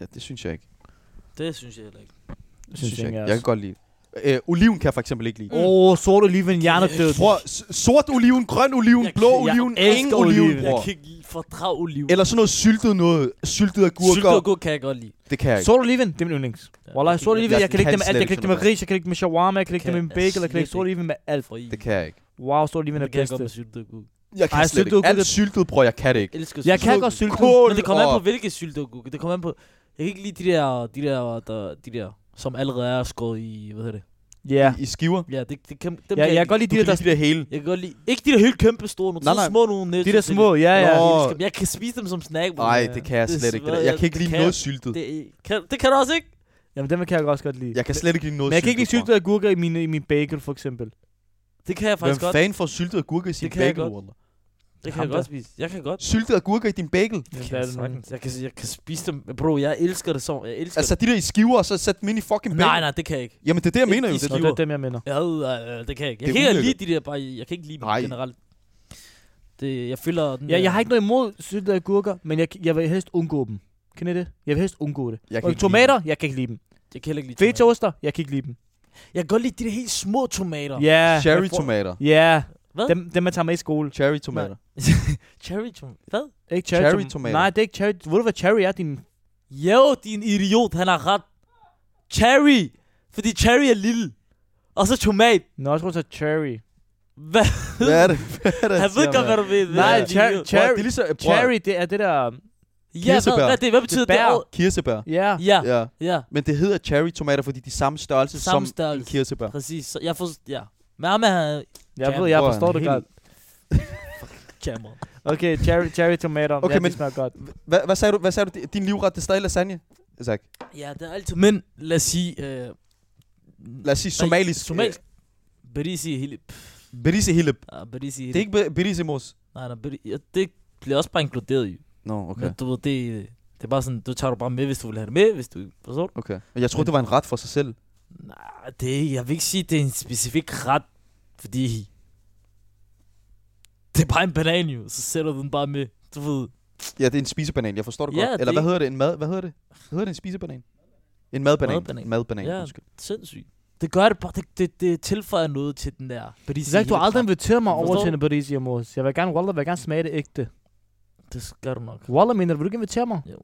[SPEAKER 2] Ja, det synes jeg ikke.
[SPEAKER 4] Det synes jeg heller ikke.
[SPEAKER 2] Det
[SPEAKER 3] Synes
[SPEAKER 2] synes jeg
[SPEAKER 3] jeg
[SPEAKER 2] ikke.
[SPEAKER 3] også.
[SPEAKER 2] Jeg kan godt lide det. øh, Oliven kan jeg for eksempel ikke lide.
[SPEAKER 4] Mm.
[SPEAKER 3] Åh, sort oliven, hjernedød.
[SPEAKER 2] Bror, s- sort oliven, grøn oliven,
[SPEAKER 4] Jeg-
[SPEAKER 2] blå
[SPEAKER 4] jeg
[SPEAKER 2] oliven,
[SPEAKER 4] elsker
[SPEAKER 2] ingen oliven,
[SPEAKER 3] oliven.
[SPEAKER 4] Jeg
[SPEAKER 2] bror.
[SPEAKER 4] kan ikke fordrage oliven.
[SPEAKER 2] Eller sådan noget syltet noget. Syltet agurker.
[SPEAKER 4] Sylt og gurk kan jeg godt lide.
[SPEAKER 2] Det kan jeg ikke.
[SPEAKER 3] Sort oliven, det er min yndlings. Wallah, sort oliven, jeg,
[SPEAKER 2] jeg
[SPEAKER 3] kan ikke
[SPEAKER 2] kan
[SPEAKER 3] det med alt. Jeg
[SPEAKER 2] slet
[SPEAKER 3] kan ikke det med
[SPEAKER 2] ikke
[SPEAKER 3] ris, jeg kan ikke det med shawarma, jeg kan ikke det med
[SPEAKER 4] Kan
[SPEAKER 3] bagel, jeg kan
[SPEAKER 4] slet
[SPEAKER 3] ikke sort oliven med alt.
[SPEAKER 4] Fri.
[SPEAKER 2] Det kan jeg ikke.
[SPEAKER 3] Wow, sort oliven er
[SPEAKER 4] det kan jeg
[SPEAKER 3] bedste.
[SPEAKER 4] godt med sylt og gurk.
[SPEAKER 2] Jeg kan
[SPEAKER 3] Ej,
[SPEAKER 2] slet
[SPEAKER 3] syltet
[SPEAKER 2] ikke. Alt
[SPEAKER 3] agurk-
[SPEAKER 2] syltet, bror, jeg kan det ikke.
[SPEAKER 4] elsker
[SPEAKER 3] Jeg kan
[SPEAKER 4] syltet
[SPEAKER 3] godt sylte.
[SPEAKER 2] Kål
[SPEAKER 4] Men det kommer an
[SPEAKER 2] og-
[SPEAKER 4] på, hvilke sylteagurker. Det kommer an på... Jeg kan ikke lide de der, de der, der, de der som allerede er skåret i, hvad hedder det?
[SPEAKER 3] Ja.
[SPEAKER 2] I skiver.
[SPEAKER 4] Ja, det, det kan, dem
[SPEAKER 3] Ja,
[SPEAKER 4] kan
[SPEAKER 3] jeg kan
[SPEAKER 4] ikke
[SPEAKER 3] godt
[SPEAKER 2] Du
[SPEAKER 3] lide de
[SPEAKER 2] kan
[SPEAKER 3] der, der
[SPEAKER 2] lide de der hele.
[SPEAKER 4] lide. Jeg kan godt lide. Ikke de der helt kæmpe store, nogle
[SPEAKER 2] Nej,
[SPEAKER 4] nej,
[SPEAKER 2] nej.
[SPEAKER 4] små nogle netto.
[SPEAKER 3] de der små, ja, ja.
[SPEAKER 2] Nå.
[SPEAKER 4] Jeg kan spise dem som snack. bro.
[SPEAKER 2] Nej, det kan jeg
[SPEAKER 4] Det er
[SPEAKER 2] slet ikke. det
[SPEAKER 4] svært.
[SPEAKER 2] der. Jeg kan ikke
[SPEAKER 4] Det
[SPEAKER 2] lide
[SPEAKER 4] kan
[SPEAKER 2] noget
[SPEAKER 4] jeg-
[SPEAKER 2] syltet.
[SPEAKER 4] Det, kan, det kan du også ikke.
[SPEAKER 3] Jamen, dem kan jeg også godt lide.
[SPEAKER 2] Jeg kan slet ikke lide noget
[SPEAKER 3] Men jeg kan ikke lide
[SPEAKER 2] syltet,
[SPEAKER 3] syltede agurker i min, i min bagel, for eksempel.
[SPEAKER 4] Det kan jeg
[SPEAKER 2] bror.
[SPEAKER 4] faktisk
[SPEAKER 2] Hvem
[SPEAKER 4] godt.
[SPEAKER 2] fanden får syltet agurker i sin
[SPEAKER 4] kan jeg
[SPEAKER 2] bagel,
[SPEAKER 4] godt.
[SPEAKER 2] Walter?
[SPEAKER 4] Det kan
[SPEAKER 3] Ham
[SPEAKER 4] jeg
[SPEAKER 3] der.
[SPEAKER 4] godt spise. Jeg kan godt.
[SPEAKER 2] Syltet agurker i din bagel?
[SPEAKER 3] Ja,
[SPEAKER 4] Det
[SPEAKER 3] der
[SPEAKER 4] kan
[SPEAKER 3] er
[SPEAKER 4] jeg
[SPEAKER 3] det
[SPEAKER 4] sagtens. Jeg kan, jeg kan spise dem. Bro, jeg elsker det så. Jeg elsker
[SPEAKER 2] Altså de der i skiver, og så sæt dem ind i fucking
[SPEAKER 4] det.
[SPEAKER 2] bagel?
[SPEAKER 4] Nej, nej, det kan jeg ikke.
[SPEAKER 2] Jamen det er det, jeg
[SPEAKER 4] Ikke
[SPEAKER 2] mener jo.
[SPEAKER 4] i
[SPEAKER 2] Det,
[SPEAKER 3] Nå,
[SPEAKER 2] er-
[SPEAKER 3] det er dem, jeg mener.
[SPEAKER 4] Jeg havde, øh, det kan jeg ikke. Jeg
[SPEAKER 2] Det er
[SPEAKER 4] kan ikke
[SPEAKER 2] ulækkert.
[SPEAKER 4] lide de der bare... Jeg kan ikke lide dem
[SPEAKER 2] Nej.
[SPEAKER 4] generelt. Det, jeg føler... Den øh,
[SPEAKER 3] Ja,
[SPEAKER 4] der-
[SPEAKER 3] jeg har ikke noget imod syltede agurker, men jeg, jeg vil helst undgå dem. Kan I det? Jeg vil helst undgå det.
[SPEAKER 2] jeg kan
[SPEAKER 3] Og
[SPEAKER 2] ikke lide
[SPEAKER 3] tomater, jeg kan ikke lide dem.
[SPEAKER 4] Jeg kan heller ikke lide tomater.
[SPEAKER 3] Fetaoster, jeg kan ikke lide dem.
[SPEAKER 4] Jeg kan godt lide de der helt små tomater.
[SPEAKER 3] Ja.
[SPEAKER 2] Cherry
[SPEAKER 3] jeg får-
[SPEAKER 2] tomater.
[SPEAKER 3] Ja.
[SPEAKER 4] Hvad?
[SPEAKER 3] Dem, dem man tager med i skole.
[SPEAKER 2] Cherry tomater.
[SPEAKER 4] Cherry tomater. Hvad?
[SPEAKER 3] Ikke cherry,
[SPEAKER 2] Cherry
[SPEAKER 3] tom-
[SPEAKER 2] tomater.
[SPEAKER 3] Nej, det er ikke cherry. Ved du, hvad cherry er, din...
[SPEAKER 4] Jo, din idiot, han har ret. Cherry. Fordi cherry er lille. Og så tomat.
[SPEAKER 3] Nå, jeg tror, det er cherry.
[SPEAKER 4] Hvad?
[SPEAKER 2] Hvad er det? Hvad er det?
[SPEAKER 4] Han ved
[SPEAKER 2] siger,
[SPEAKER 4] godt, hvad
[SPEAKER 2] mand?
[SPEAKER 4] du ved.
[SPEAKER 3] Nej,
[SPEAKER 4] Hvad er det,
[SPEAKER 3] cherry-
[SPEAKER 4] idiot?
[SPEAKER 2] Bror,
[SPEAKER 3] cherry-
[SPEAKER 2] Det er lige så... bror,
[SPEAKER 3] Cherry, det er det der...
[SPEAKER 4] Ja, hvad,
[SPEAKER 2] kirsebær.
[SPEAKER 4] hvad, er det, hvad betyder det?
[SPEAKER 3] bær.
[SPEAKER 4] ord?
[SPEAKER 2] Kirsebær.
[SPEAKER 3] Ja.
[SPEAKER 4] Ja,
[SPEAKER 2] Ja.
[SPEAKER 4] ja.
[SPEAKER 2] Men det hedder cherry tomater, fordi de er samme størrelse
[SPEAKER 4] Samme
[SPEAKER 2] som en
[SPEAKER 4] størrelse.
[SPEAKER 2] kirsebær.
[SPEAKER 4] Præcis. Så jeg får... Ja. Men ham er
[SPEAKER 3] Jeg
[SPEAKER 4] Jam,
[SPEAKER 3] ved, jeg
[SPEAKER 2] bror,
[SPEAKER 3] forstår det
[SPEAKER 2] helt-
[SPEAKER 3] godt.
[SPEAKER 4] jammer.
[SPEAKER 3] Okay, cherry, cherry tomater.
[SPEAKER 2] Okay,
[SPEAKER 3] ja,
[SPEAKER 2] men-
[SPEAKER 3] det smager godt.
[SPEAKER 2] Hvad, hvad sagde du? Hvad sagde du? Din livret, det er stadig lasagne? Isak.
[SPEAKER 4] Ja, det er altid... Men lad os sige... Øh,
[SPEAKER 2] Lad os sige somalisk.
[SPEAKER 4] Somalisk. Berisi Hilip.
[SPEAKER 2] øh, Berise hilib.
[SPEAKER 4] Ah, Berisi Hilip.
[SPEAKER 2] Det er ikke be- berise mos.
[SPEAKER 4] Nej, nej, beri, ja, det bliver også bare inkluderet i.
[SPEAKER 2] Nå,
[SPEAKER 4] Okay.
[SPEAKER 2] okay.
[SPEAKER 4] Men du ved, det, det er bare sådan, du tager du bare med, hvis du vil have det med, hvis du... Forstår du?
[SPEAKER 2] Okay. Men jeg troede, det var en ret for sig selv.
[SPEAKER 4] Nej, det, jeg vil ikke sige, at det er en specifik ret, fordi... Det er bare en banan jo, så sætter du den bare med. Du ved,
[SPEAKER 2] Ja, det er en spisebanan, jeg forstår det
[SPEAKER 4] Ja,
[SPEAKER 2] godt.
[SPEAKER 4] det
[SPEAKER 2] Eller hvad
[SPEAKER 4] er-
[SPEAKER 2] hedder det? En mad... Hvad hedder det? Hedder det en spisebanan? En madbanan.
[SPEAKER 4] Madbanan.
[SPEAKER 2] En madbanan,
[SPEAKER 4] Ja.
[SPEAKER 2] undskyld.
[SPEAKER 4] sindssygt. Det gør det bare, det, det, det tilføjer noget til den der. Fordi
[SPEAKER 3] Isak, du har aldrig inviteret mig over
[SPEAKER 4] Forstår
[SPEAKER 3] til
[SPEAKER 4] du?
[SPEAKER 3] en Parisi og mos. Jeg vil gerne, Wallah, vil jeg gerne smage det ægte.
[SPEAKER 4] Det gør du nok.
[SPEAKER 3] Wallah, mener du, vil du ikke invitere mig?
[SPEAKER 4] Jo.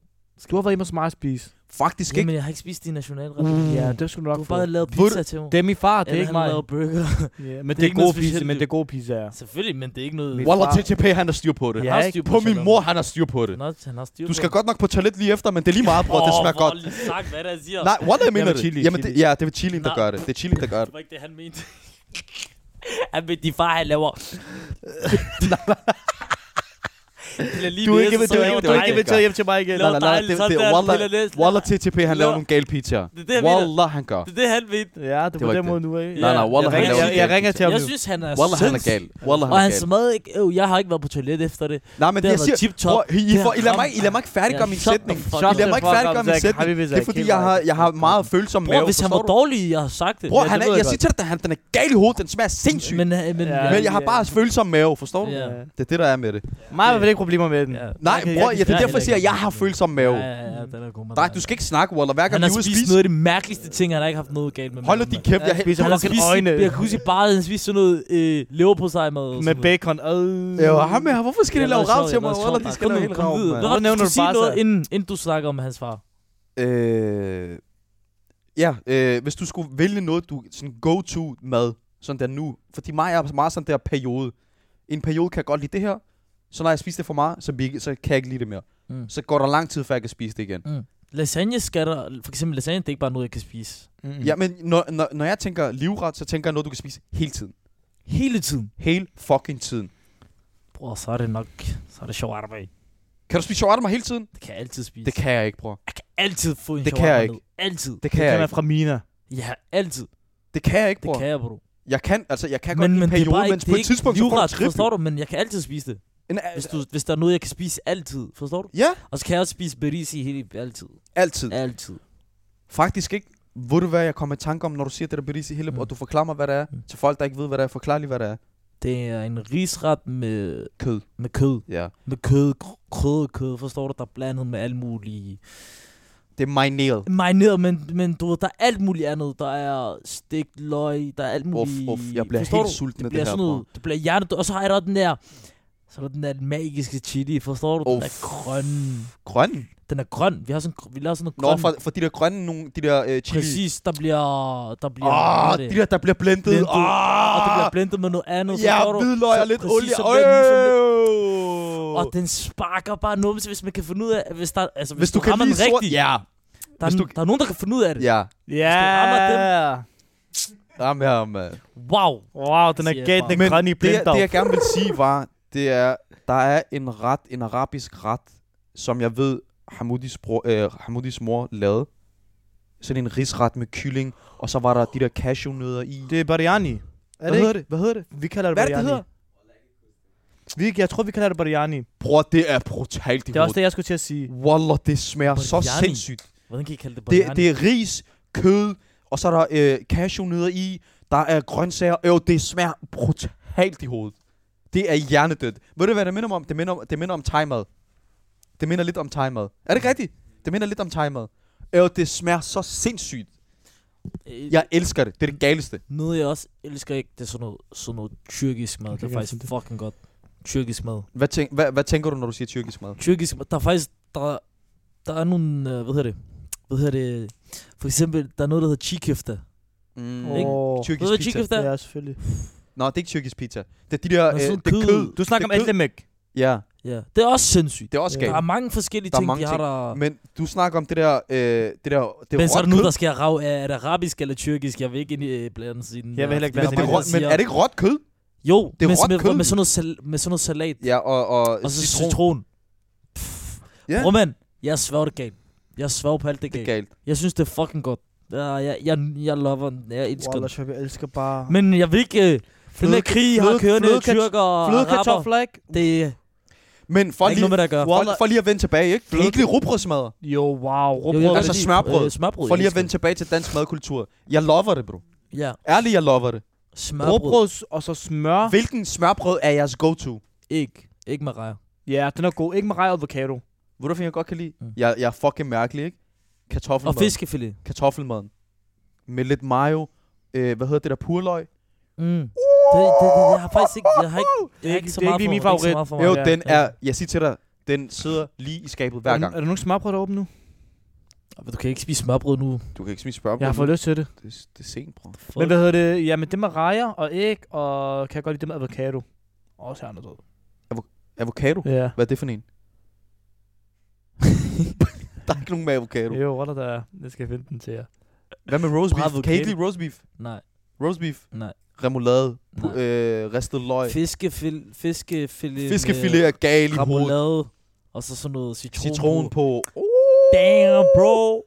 [SPEAKER 3] Du har været hjemme hos mig og spise.
[SPEAKER 2] Faktisk ikke.
[SPEAKER 4] Jamen, jeg har ikke spist din nationalret.
[SPEAKER 3] Ja, det skulle du
[SPEAKER 4] Du
[SPEAKER 3] nok
[SPEAKER 4] har
[SPEAKER 3] få.
[SPEAKER 4] bare lavet
[SPEAKER 2] Ved du-
[SPEAKER 4] pizza til mig.
[SPEAKER 3] Det er min far, det er
[SPEAKER 4] Eller
[SPEAKER 3] ikke
[SPEAKER 4] han
[SPEAKER 3] mig.
[SPEAKER 4] lavede burger.
[SPEAKER 3] Ja, men det, er
[SPEAKER 4] ikke
[SPEAKER 3] ikke gode
[SPEAKER 4] noget
[SPEAKER 3] pizza,
[SPEAKER 4] specielt,
[SPEAKER 3] men
[SPEAKER 4] jo.
[SPEAKER 3] det er gode pizza, ja.
[SPEAKER 4] Selvfølgelig, men det er ikke noget...
[SPEAKER 3] Mit-
[SPEAKER 2] Wallah,
[SPEAKER 3] far-
[SPEAKER 2] TTP, han har styr på det.
[SPEAKER 3] Ja,
[SPEAKER 4] Han har
[SPEAKER 3] ikke?
[SPEAKER 4] styr
[SPEAKER 2] På min
[SPEAKER 4] sådan
[SPEAKER 2] mor,
[SPEAKER 4] noget.
[SPEAKER 2] han har styr på det.
[SPEAKER 4] Han har- han har styr
[SPEAKER 2] Du
[SPEAKER 4] på
[SPEAKER 2] skal
[SPEAKER 4] det.
[SPEAKER 2] godt nok på toilet lige efter, men det er lige meget, bror. Det
[SPEAKER 4] Åh,
[SPEAKER 2] smager
[SPEAKER 4] hvor
[SPEAKER 2] godt.
[SPEAKER 4] har lige sagt, hvad der siger.
[SPEAKER 2] Nej, Wallah, jeg mener
[SPEAKER 3] Jamen,
[SPEAKER 2] det.
[SPEAKER 3] chili,
[SPEAKER 2] Jamen, det,
[SPEAKER 3] chili.
[SPEAKER 2] ja, det er chili, der
[SPEAKER 4] Nej.
[SPEAKER 2] gør det. Det er chili, der gør
[SPEAKER 4] Det
[SPEAKER 2] det.
[SPEAKER 4] var ikke det, han mente. han mente, din far, han laver... Piller lige
[SPEAKER 3] Du er
[SPEAKER 4] næse,
[SPEAKER 3] ikke
[SPEAKER 4] så
[SPEAKER 3] inviteret
[SPEAKER 4] laver
[SPEAKER 3] hjem, du er
[SPEAKER 4] dig-
[SPEAKER 3] ikke
[SPEAKER 2] dejligt.
[SPEAKER 3] inviteret hjem til mig igen.
[SPEAKER 4] laver
[SPEAKER 2] Nej, nej, nej,
[SPEAKER 4] dejligt,
[SPEAKER 2] det-
[SPEAKER 4] sådan
[SPEAKER 2] det er
[SPEAKER 4] der,
[SPEAKER 2] Wallah-
[SPEAKER 4] piller næse.
[SPEAKER 2] Wallah, TTP, han laver
[SPEAKER 4] Nå.
[SPEAKER 2] nogle gale pizzaer.
[SPEAKER 4] Det er det, jeg mener.
[SPEAKER 2] Wallah, han gør.
[SPEAKER 4] Det er det, han mente.
[SPEAKER 3] Ja, det
[SPEAKER 2] Det
[SPEAKER 3] var
[SPEAKER 2] var
[SPEAKER 3] den
[SPEAKER 2] ikke
[SPEAKER 3] måde nu, ikke?
[SPEAKER 4] Ja,
[SPEAKER 2] Nej, nej, Wallah, han
[SPEAKER 3] jeg, ringer,
[SPEAKER 2] laver
[SPEAKER 3] jeg,
[SPEAKER 2] nogle
[SPEAKER 3] jeg
[SPEAKER 2] gale
[SPEAKER 3] ringer til
[SPEAKER 2] pizzaer.
[SPEAKER 3] ham
[SPEAKER 4] Jeg
[SPEAKER 3] nu.
[SPEAKER 4] synes, han er
[SPEAKER 2] Wallah, han er
[SPEAKER 4] sindssyg.
[SPEAKER 2] gal. Wallah,
[SPEAKER 4] Og
[SPEAKER 2] han
[SPEAKER 4] han
[SPEAKER 2] er gal.
[SPEAKER 4] smadrede ikke... Øh, jeg har ikke været på toilet efter det.
[SPEAKER 2] Nej, men
[SPEAKER 4] Det
[SPEAKER 2] jeg
[SPEAKER 4] var
[SPEAKER 2] siger...
[SPEAKER 4] tip-top.
[SPEAKER 2] Bror, I, I,
[SPEAKER 4] Det
[SPEAKER 2] får,
[SPEAKER 4] har
[SPEAKER 2] I lader mig,
[SPEAKER 4] ramt.
[SPEAKER 2] I lader mig ikke færdiggøre
[SPEAKER 4] Ja,
[SPEAKER 2] min
[SPEAKER 4] shut the
[SPEAKER 2] sætning.
[SPEAKER 4] fuck
[SPEAKER 2] I
[SPEAKER 4] up,
[SPEAKER 2] lader mig ikke
[SPEAKER 3] Zach.
[SPEAKER 2] færdiggøre min
[SPEAKER 3] Zach,
[SPEAKER 2] sætning.
[SPEAKER 3] Habibi,
[SPEAKER 2] Det er
[SPEAKER 3] Zach,
[SPEAKER 2] fordi,
[SPEAKER 3] helt
[SPEAKER 2] jeg har,
[SPEAKER 3] meget.
[SPEAKER 2] jeg har meget følsom mave.
[SPEAKER 4] Bror, hvis han
[SPEAKER 2] forstår
[SPEAKER 4] var
[SPEAKER 2] du?
[SPEAKER 4] dårlig, jeg har sagt det.
[SPEAKER 2] Bror,
[SPEAKER 3] Ja,
[SPEAKER 2] han
[SPEAKER 3] det
[SPEAKER 2] er,
[SPEAKER 3] ved jeg
[SPEAKER 2] jeg siger til dig, at han- den er gal i hovedet. Den smager sindssygt.
[SPEAKER 4] Men, øh, men,
[SPEAKER 3] Ja.
[SPEAKER 2] Men jeg har bare følsom mave, forstår du?
[SPEAKER 4] Ja.
[SPEAKER 2] Det er det, der er med det.
[SPEAKER 3] Mig har vel ikke problemer med den.
[SPEAKER 4] Ja.
[SPEAKER 2] Nej,
[SPEAKER 3] kan-
[SPEAKER 2] bror,
[SPEAKER 3] jeg
[SPEAKER 2] ja, det
[SPEAKER 4] kan
[SPEAKER 2] er derfor,
[SPEAKER 4] heller
[SPEAKER 2] jeg siger, at
[SPEAKER 4] ikke
[SPEAKER 2] jeg har
[SPEAKER 4] godt
[SPEAKER 2] følsom mave.
[SPEAKER 4] Ja, ja, ja, den er god, mand.
[SPEAKER 2] Drej, du skal ikke snakke, Waller. Hver gang
[SPEAKER 4] Han
[SPEAKER 2] vi
[SPEAKER 4] har
[SPEAKER 2] er ude at
[SPEAKER 4] spist
[SPEAKER 2] spise,
[SPEAKER 4] noget af de mærkeligste ting, han har ikke haft noget galt med.
[SPEAKER 2] Hold nu
[SPEAKER 4] manden,
[SPEAKER 2] din
[SPEAKER 4] mand.
[SPEAKER 2] kæft, jeg
[SPEAKER 3] Jeg spiser
[SPEAKER 4] Han har
[SPEAKER 3] fucking
[SPEAKER 4] spist
[SPEAKER 3] øjne.
[SPEAKER 4] Jeg kunne huske bare, han spiste sådan noget øh, leverpostej med. og sådan
[SPEAKER 3] Med
[SPEAKER 4] noget.
[SPEAKER 3] bacon. Øh.
[SPEAKER 2] Ja, og ham her, hvorfor skal de
[SPEAKER 4] Jeg
[SPEAKER 2] lave
[SPEAKER 4] lavede
[SPEAKER 2] rav
[SPEAKER 4] sjov,
[SPEAKER 2] til
[SPEAKER 4] altså, jeg
[SPEAKER 2] mig?
[SPEAKER 4] lavede
[SPEAKER 2] Eller
[SPEAKER 4] sjov.
[SPEAKER 2] de skal
[SPEAKER 4] Kom
[SPEAKER 2] lave
[SPEAKER 4] nu,
[SPEAKER 2] hele
[SPEAKER 4] kom
[SPEAKER 2] rav,
[SPEAKER 4] videre.
[SPEAKER 2] mand.
[SPEAKER 4] Hvad var
[SPEAKER 3] Hvor
[SPEAKER 4] det,
[SPEAKER 3] nævner
[SPEAKER 4] du
[SPEAKER 3] du
[SPEAKER 4] skulle sige
[SPEAKER 3] Barca?
[SPEAKER 4] noget, inden, inden du snakker om hans far?
[SPEAKER 2] Øh, ja, øh, hvis du skulle vælge noget, du sådan go-to mad, sådan der nu. Fordi mig er meget sådan der periode. en periode kan jeg godt lide det her, så når jeg spiser det for meget, så, bliver, så kan jeg ikke lide det mere.
[SPEAKER 4] Mm.
[SPEAKER 2] Så går der lang tid, før jeg kan spise det igen.
[SPEAKER 4] Lasagne skal der... For eksempel lasagne, det er ikke bare noget, jeg kan spise.
[SPEAKER 3] Mm-hmm.
[SPEAKER 2] Ja, men når, når, når jeg tænker livret, så tænker jeg noget, du kan spise hele tiden.
[SPEAKER 4] Hele tiden.
[SPEAKER 2] Hele fucking tiden.
[SPEAKER 4] Bror, så er det nok... Så er det sjovt arbejde.
[SPEAKER 2] Kan du spise shawarma hele tiden?
[SPEAKER 4] Det kan jeg altid spise.
[SPEAKER 2] Det kan jeg ikke, bror.
[SPEAKER 4] Jeg kan altid få en
[SPEAKER 2] Det kan
[SPEAKER 4] shawarma
[SPEAKER 2] jeg ikke.
[SPEAKER 4] ned. Altid.
[SPEAKER 2] Det
[SPEAKER 3] det
[SPEAKER 2] kan jeg
[SPEAKER 3] kan være
[SPEAKER 2] ikke.
[SPEAKER 3] fra Mina.
[SPEAKER 4] Ja, altid.
[SPEAKER 2] Det kan jeg ikke,
[SPEAKER 4] Det
[SPEAKER 2] bror.
[SPEAKER 4] kan jeg, bro.
[SPEAKER 2] Jeg kan, altså, jeg kan men, godt lide en
[SPEAKER 4] det er
[SPEAKER 2] periode,
[SPEAKER 4] bare
[SPEAKER 2] men på
[SPEAKER 4] ikke- det er
[SPEAKER 2] et
[SPEAKER 4] ikke
[SPEAKER 2] tidspunkt, så får du
[SPEAKER 4] livret,
[SPEAKER 2] trippel.
[SPEAKER 4] forstår du? Men jeg kan altid spise det.
[SPEAKER 2] En,
[SPEAKER 4] Hvis, du, hvis der er noget, jeg kan spise altid. Forstår du?
[SPEAKER 2] Ja,
[SPEAKER 4] Og så kan jeg også spise berisi hele altid.
[SPEAKER 2] altid.
[SPEAKER 4] Altid.
[SPEAKER 2] Faktisk ikke. Ved du hvad, jeg kommer i tanke om, når du siger det der berisi hele,
[SPEAKER 4] Mm.
[SPEAKER 2] og du forklarer mig, hvad det er.
[SPEAKER 4] Mm.
[SPEAKER 2] Til folk, der ikke ved, hvad det er, forklar lige, hvad det er.
[SPEAKER 4] Det er en risret med,
[SPEAKER 2] Kød.
[SPEAKER 4] med kød.
[SPEAKER 2] Ja.
[SPEAKER 4] Med kød, krød, kød, forstår du? Der er blandet med alt muligt.
[SPEAKER 2] Det er marineret.
[SPEAKER 4] Marineret, men, men du ved, der er alt muligt andet. Der er stegt løg, der er alt
[SPEAKER 2] Uff,
[SPEAKER 4] muligt.
[SPEAKER 2] uff, jeg bliver
[SPEAKER 4] forstår
[SPEAKER 2] helt
[SPEAKER 4] du?
[SPEAKER 2] sulten af det
[SPEAKER 4] det bliver
[SPEAKER 2] her,
[SPEAKER 4] sådan
[SPEAKER 2] bror.
[SPEAKER 4] noget, det bliver hjertet, og så har jeg der den der, så er der den der magiske chili, forstår du? Den
[SPEAKER 2] Uff.
[SPEAKER 4] er grøn.
[SPEAKER 2] Grøn?
[SPEAKER 4] Den er grøn. Vi har sådan, vi laver sådan noget
[SPEAKER 2] Nå,
[SPEAKER 4] grøn.
[SPEAKER 2] for, for de der grønne, nogle, de der øh, chili.
[SPEAKER 4] Præcis, der bliver, der bliver,
[SPEAKER 2] Åh,
[SPEAKER 4] hvad
[SPEAKER 2] oh,
[SPEAKER 4] er det?
[SPEAKER 2] de der, der bliver blendet.
[SPEAKER 4] Blendet.
[SPEAKER 2] Åh,
[SPEAKER 4] og det bliver blendet med noget andet.
[SPEAKER 2] Ja,
[SPEAKER 4] forstår du?
[SPEAKER 2] hvidløg
[SPEAKER 4] Så
[SPEAKER 2] og lidt
[SPEAKER 4] præcis,
[SPEAKER 2] olie.
[SPEAKER 4] så
[SPEAKER 2] Øj!
[SPEAKER 4] bliver den ligesom lidt- Og den sparker bare numse, hvis man kan finde ud af, hvis der, altså, hvis,
[SPEAKER 2] Hvis du kan
[SPEAKER 4] rammer
[SPEAKER 2] lide
[SPEAKER 4] den
[SPEAKER 2] sort...
[SPEAKER 4] rigtigt,
[SPEAKER 2] Ja,
[SPEAKER 4] der, er,
[SPEAKER 2] hvis
[SPEAKER 4] du...
[SPEAKER 2] du-
[SPEAKER 4] der er nogen, der kan finde ud af det.
[SPEAKER 2] ja.
[SPEAKER 3] Ja.
[SPEAKER 4] rammer dem.
[SPEAKER 2] Jamen, ja, man.
[SPEAKER 4] Wow.
[SPEAKER 3] Wow, den er
[SPEAKER 4] Siger jeg
[SPEAKER 3] galt,
[SPEAKER 4] bare.
[SPEAKER 3] den
[SPEAKER 2] Men
[SPEAKER 3] grønne i
[SPEAKER 2] Det, jeg-
[SPEAKER 3] blender.
[SPEAKER 2] det, jeg gerne vil sige var, det er, der er en ret, en arabisk ret, som jeg ved, Hamoudis, bror, øh, Hamoudis mor lavede. Sådan en risret med kylling, og så var der de der cashewnødder i.
[SPEAKER 3] Det er Bariani. Er
[SPEAKER 2] Hvad hedder
[SPEAKER 3] det? Hvad hedder det? Vi kalder det
[SPEAKER 2] Hvad er det,
[SPEAKER 3] Bariani.
[SPEAKER 2] det hedder?
[SPEAKER 3] Vi, jeg tror, vi kalder det Bariani.
[SPEAKER 2] Bror, det er brutalt i
[SPEAKER 3] Det er også det, jeg skulle til at sige.
[SPEAKER 2] Wallah, det smager så
[SPEAKER 4] Biryani.
[SPEAKER 2] sindssygt.
[SPEAKER 4] Hvordan kan I kalde det
[SPEAKER 2] Det,
[SPEAKER 4] bariani?
[SPEAKER 2] det er ris, kød, og så er der øh, cashewnødder i. Der er grøntsager. Jo, det smager brutalt i hovedet. Det er hjernedødt. Ved du, hvad det minder mig om? Det minder om, det minder om thai-mad. Det minder lidt om thai-mad. Er det ikke rigtigt? Det minder lidt om thai-mad. Jo, det smager så sindssygt.
[SPEAKER 4] Øh,
[SPEAKER 2] Jeg elsker det. Det er det galeste.
[SPEAKER 4] Noget, jeg også elsker ikke, det er sådan noget, sådan noget tyrkisk mad.
[SPEAKER 3] Okay,
[SPEAKER 4] Det er
[SPEAKER 3] ja,
[SPEAKER 4] faktisk
[SPEAKER 3] sådan det.
[SPEAKER 4] fucking godt. Tyrkisk mad.
[SPEAKER 2] Hvad, tænk, hvad, hvad tænker du, når du siger tyrkisk mad?
[SPEAKER 4] Tyrkisk mad, der er faktisk, der, der er nogle, øh, hvad hedder det? Hvad hedder det? For eksempel, der er noget, der hedder chikhifta. Ved
[SPEAKER 2] Mm,
[SPEAKER 3] Åh.
[SPEAKER 2] ikke?
[SPEAKER 4] du, hvad
[SPEAKER 2] Tyrkisk pizza.
[SPEAKER 4] chikhifta er?
[SPEAKER 3] Ja, selvfølgelig.
[SPEAKER 2] Nå, det er ikke tyrkisk pizza. Det er de der...
[SPEAKER 4] Nå,
[SPEAKER 2] Øh, det
[SPEAKER 4] sådan
[SPEAKER 2] er kød.
[SPEAKER 4] kød.
[SPEAKER 3] Du snakker om
[SPEAKER 2] Det er kød.
[SPEAKER 3] Eldemek.
[SPEAKER 2] Ja,
[SPEAKER 4] Ja, det er også sindssygt.
[SPEAKER 2] det er også
[SPEAKER 3] Ja.
[SPEAKER 2] galt.
[SPEAKER 4] Der er mange forskellige
[SPEAKER 2] Der er
[SPEAKER 4] ting,
[SPEAKER 2] mange
[SPEAKER 4] de har
[SPEAKER 2] ting.
[SPEAKER 4] der.
[SPEAKER 2] Men du snakker om det der... Øh, det der det
[SPEAKER 4] Men så er
[SPEAKER 2] råt
[SPEAKER 4] der nu,
[SPEAKER 2] kød.
[SPEAKER 4] der skal rave af, er det arabisk eller tyrkisk? Jeg vil ikke ind i øh, blande siden.
[SPEAKER 3] Jeg vil heller ikke
[SPEAKER 2] Men,
[SPEAKER 3] blande
[SPEAKER 2] det er,
[SPEAKER 3] mig.
[SPEAKER 2] råt- men er det ikke råt kød?
[SPEAKER 4] Jo,
[SPEAKER 2] det er
[SPEAKER 4] men
[SPEAKER 2] råt
[SPEAKER 4] med,
[SPEAKER 2] kød.
[SPEAKER 4] med, sådan noget sal, med sådan noget salat.
[SPEAKER 2] Ja, og, og,
[SPEAKER 4] Og så citron. citron. Pff.
[SPEAKER 2] Ja.
[SPEAKER 4] Yeah. Roman, jeg sværger det galt. Jeg sværger på alt det
[SPEAKER 2] Det er
[SPEAKER 4] galt.
[SPEAKER 2] galt.
[SPEAKER 4] Jeg synes, det er fucking godt. Ja, jeg, jeg, jeg lover den. Jeg elsker
[SPEAKER 3] Wallah,
[SPEAKER 4] den.
[SPEAKER 3] Shab, jeg elsker bare...
[SPEAKER 4] Men jeg vil ikke... Øh, den der krig, jeg har
[SPEAKER 3] fløde-
[SPEAKER 4] kørende
[SPEAKER 3] flødekartof-
[SPEAKER 4] tyrker og araber.
[SPEAKER 3] Flødekartofler, ikke?
[SPEAKER 4] Det er
[SPEAKER 2] Men for
[SPEAKER 4] ikke
[SPEAKER 2] lige,
[SPEAKER 4] noget med, der gør.
[SPEAKER 2] for, for lige at vende tilbage, ikke? Kan I ikke lide rugbrødsmadder?
[SPEAKER 3] Jo, wow.
[SPEAKER 4] Jo, jeg
[SPEAKER 3] Rugbrød.
[SPEAKER 4] kan
[SPEAKER 2] Altså
[SPEAKER 4] godt lide,
[SPEAKER 2] smørbrød.
[SPEAKER 4] øh, smørbrød.
[SPEAKER 2] For lige
[SPEAKER 4] jeg
[SPEAKER 2] at vende
[SPEAKER 4] elsker
[SPEAKER 2] tilbage til dansk madkultur. Jeg lover det, bro.
[SPEAKER 4] det. Ja,
[SPEAKER 2] Ærligt, jeg lover det.
[SPEAKER 4] smørbrød.
[SPEAKER 3] Rugbrød og så smør.
[SPEAKER 4] Ah.
[SPEAKER 2] Hvilken smørbrød er jeres go-to?
[SPEAKER 4] Ikke. Ikke med rejer.
[SPEAKER 3] Ja, den er god. Ikke med rej og avocado.
[SPEAKER 2] Ved du, hvad jeg godt kan lide?
[SPEAKER 4] Mm.
[SPEAKER 2] Jeg, jeg er fucking mærkelig, ikke?
[SPEAKER 4] Og
[SPEAKER 2] Kartoffelmad.
[SPEAKER 4] fiskefilet.
[SPEAKER 2] Kartoffelmaden. Med lidt mayo. Øh, hvad hedder det der? Purløg.
[SPEAKER 4] Mm. Det, det, det, jeg har faktisk ikke, jeg har ikke, det er ikke så
[SPEAKER 3] det er
[SPEAKER 4] meget
[SPEAKER 3] ikke lige min
[SPEAKER 4] for- ikke så
[SPEAKER 3] favorit.
[SPEAKER 4] meget for
[SPEAKER 2] Jo,
[SPEAKER 4] mig.
[SPEAKER 3] ja.
[SPEAKER 2] den er... Jeg siger til dig, den sidder lige i skabet hver
[SPEAKER 3] Er der-
[SPEAKER 2] gang.
[SPEAKER 4] øh,
[SPEAKER 3] Er der nogen smørbrød deroppe nu?
[SPEAKER 4] Men Du kan ikke spise smørbrød nu.
[SPEAKER 2] Du kan ikke smide spørgsmål.
[SPEAKER 3] Jeg har fået lyst til det.
[SPEAKER 2] Det, det er sent, bror.
[SPEAKER 4] Fuck.
[SPEAKER 3] Men hvad hedder det? Ja, men det med rejer og æg, og kan jeg godt lide det med avocado. Også her noget.
[SPEAKER 2] Avocado?
[SPEAKER 3] Ja.
[SPEAKER 2] Hvad er det for en? Der er ikke nogen med avocado.
[SPEAKER 3] Jo, rotter der er. Jeg skal finde den til jer.
[SPEAKER 2] Hvad med roast beef?
[SPEAKER 4] Avocado.
[SPEAKER 2] Kan I ikke lide roast beef?
[SPEAKER 4] Nej,
[SPEAKER 2] Roast beef,
[SPEAKER 4] nej.
[SPEAKER 2] remoulade,
[SPEAKER 4] nej.
[SPEAKER 2] pu- øh, ristet løg,
[SPEAKER 4] Fiskefil, fiskefilet
[SPEAKER 2] fiskefilet er gal i
[SPEAKER 4] med
[SPEAKER 2] hovedet,
[SPEAKER 4] remoulade, og så sådan noget citron.
[SPEAKER 2] citron
[SPEAKER 4] på.
[SPEAKER 2] på. Uh,
[SPEAKER 4] Damn, bro.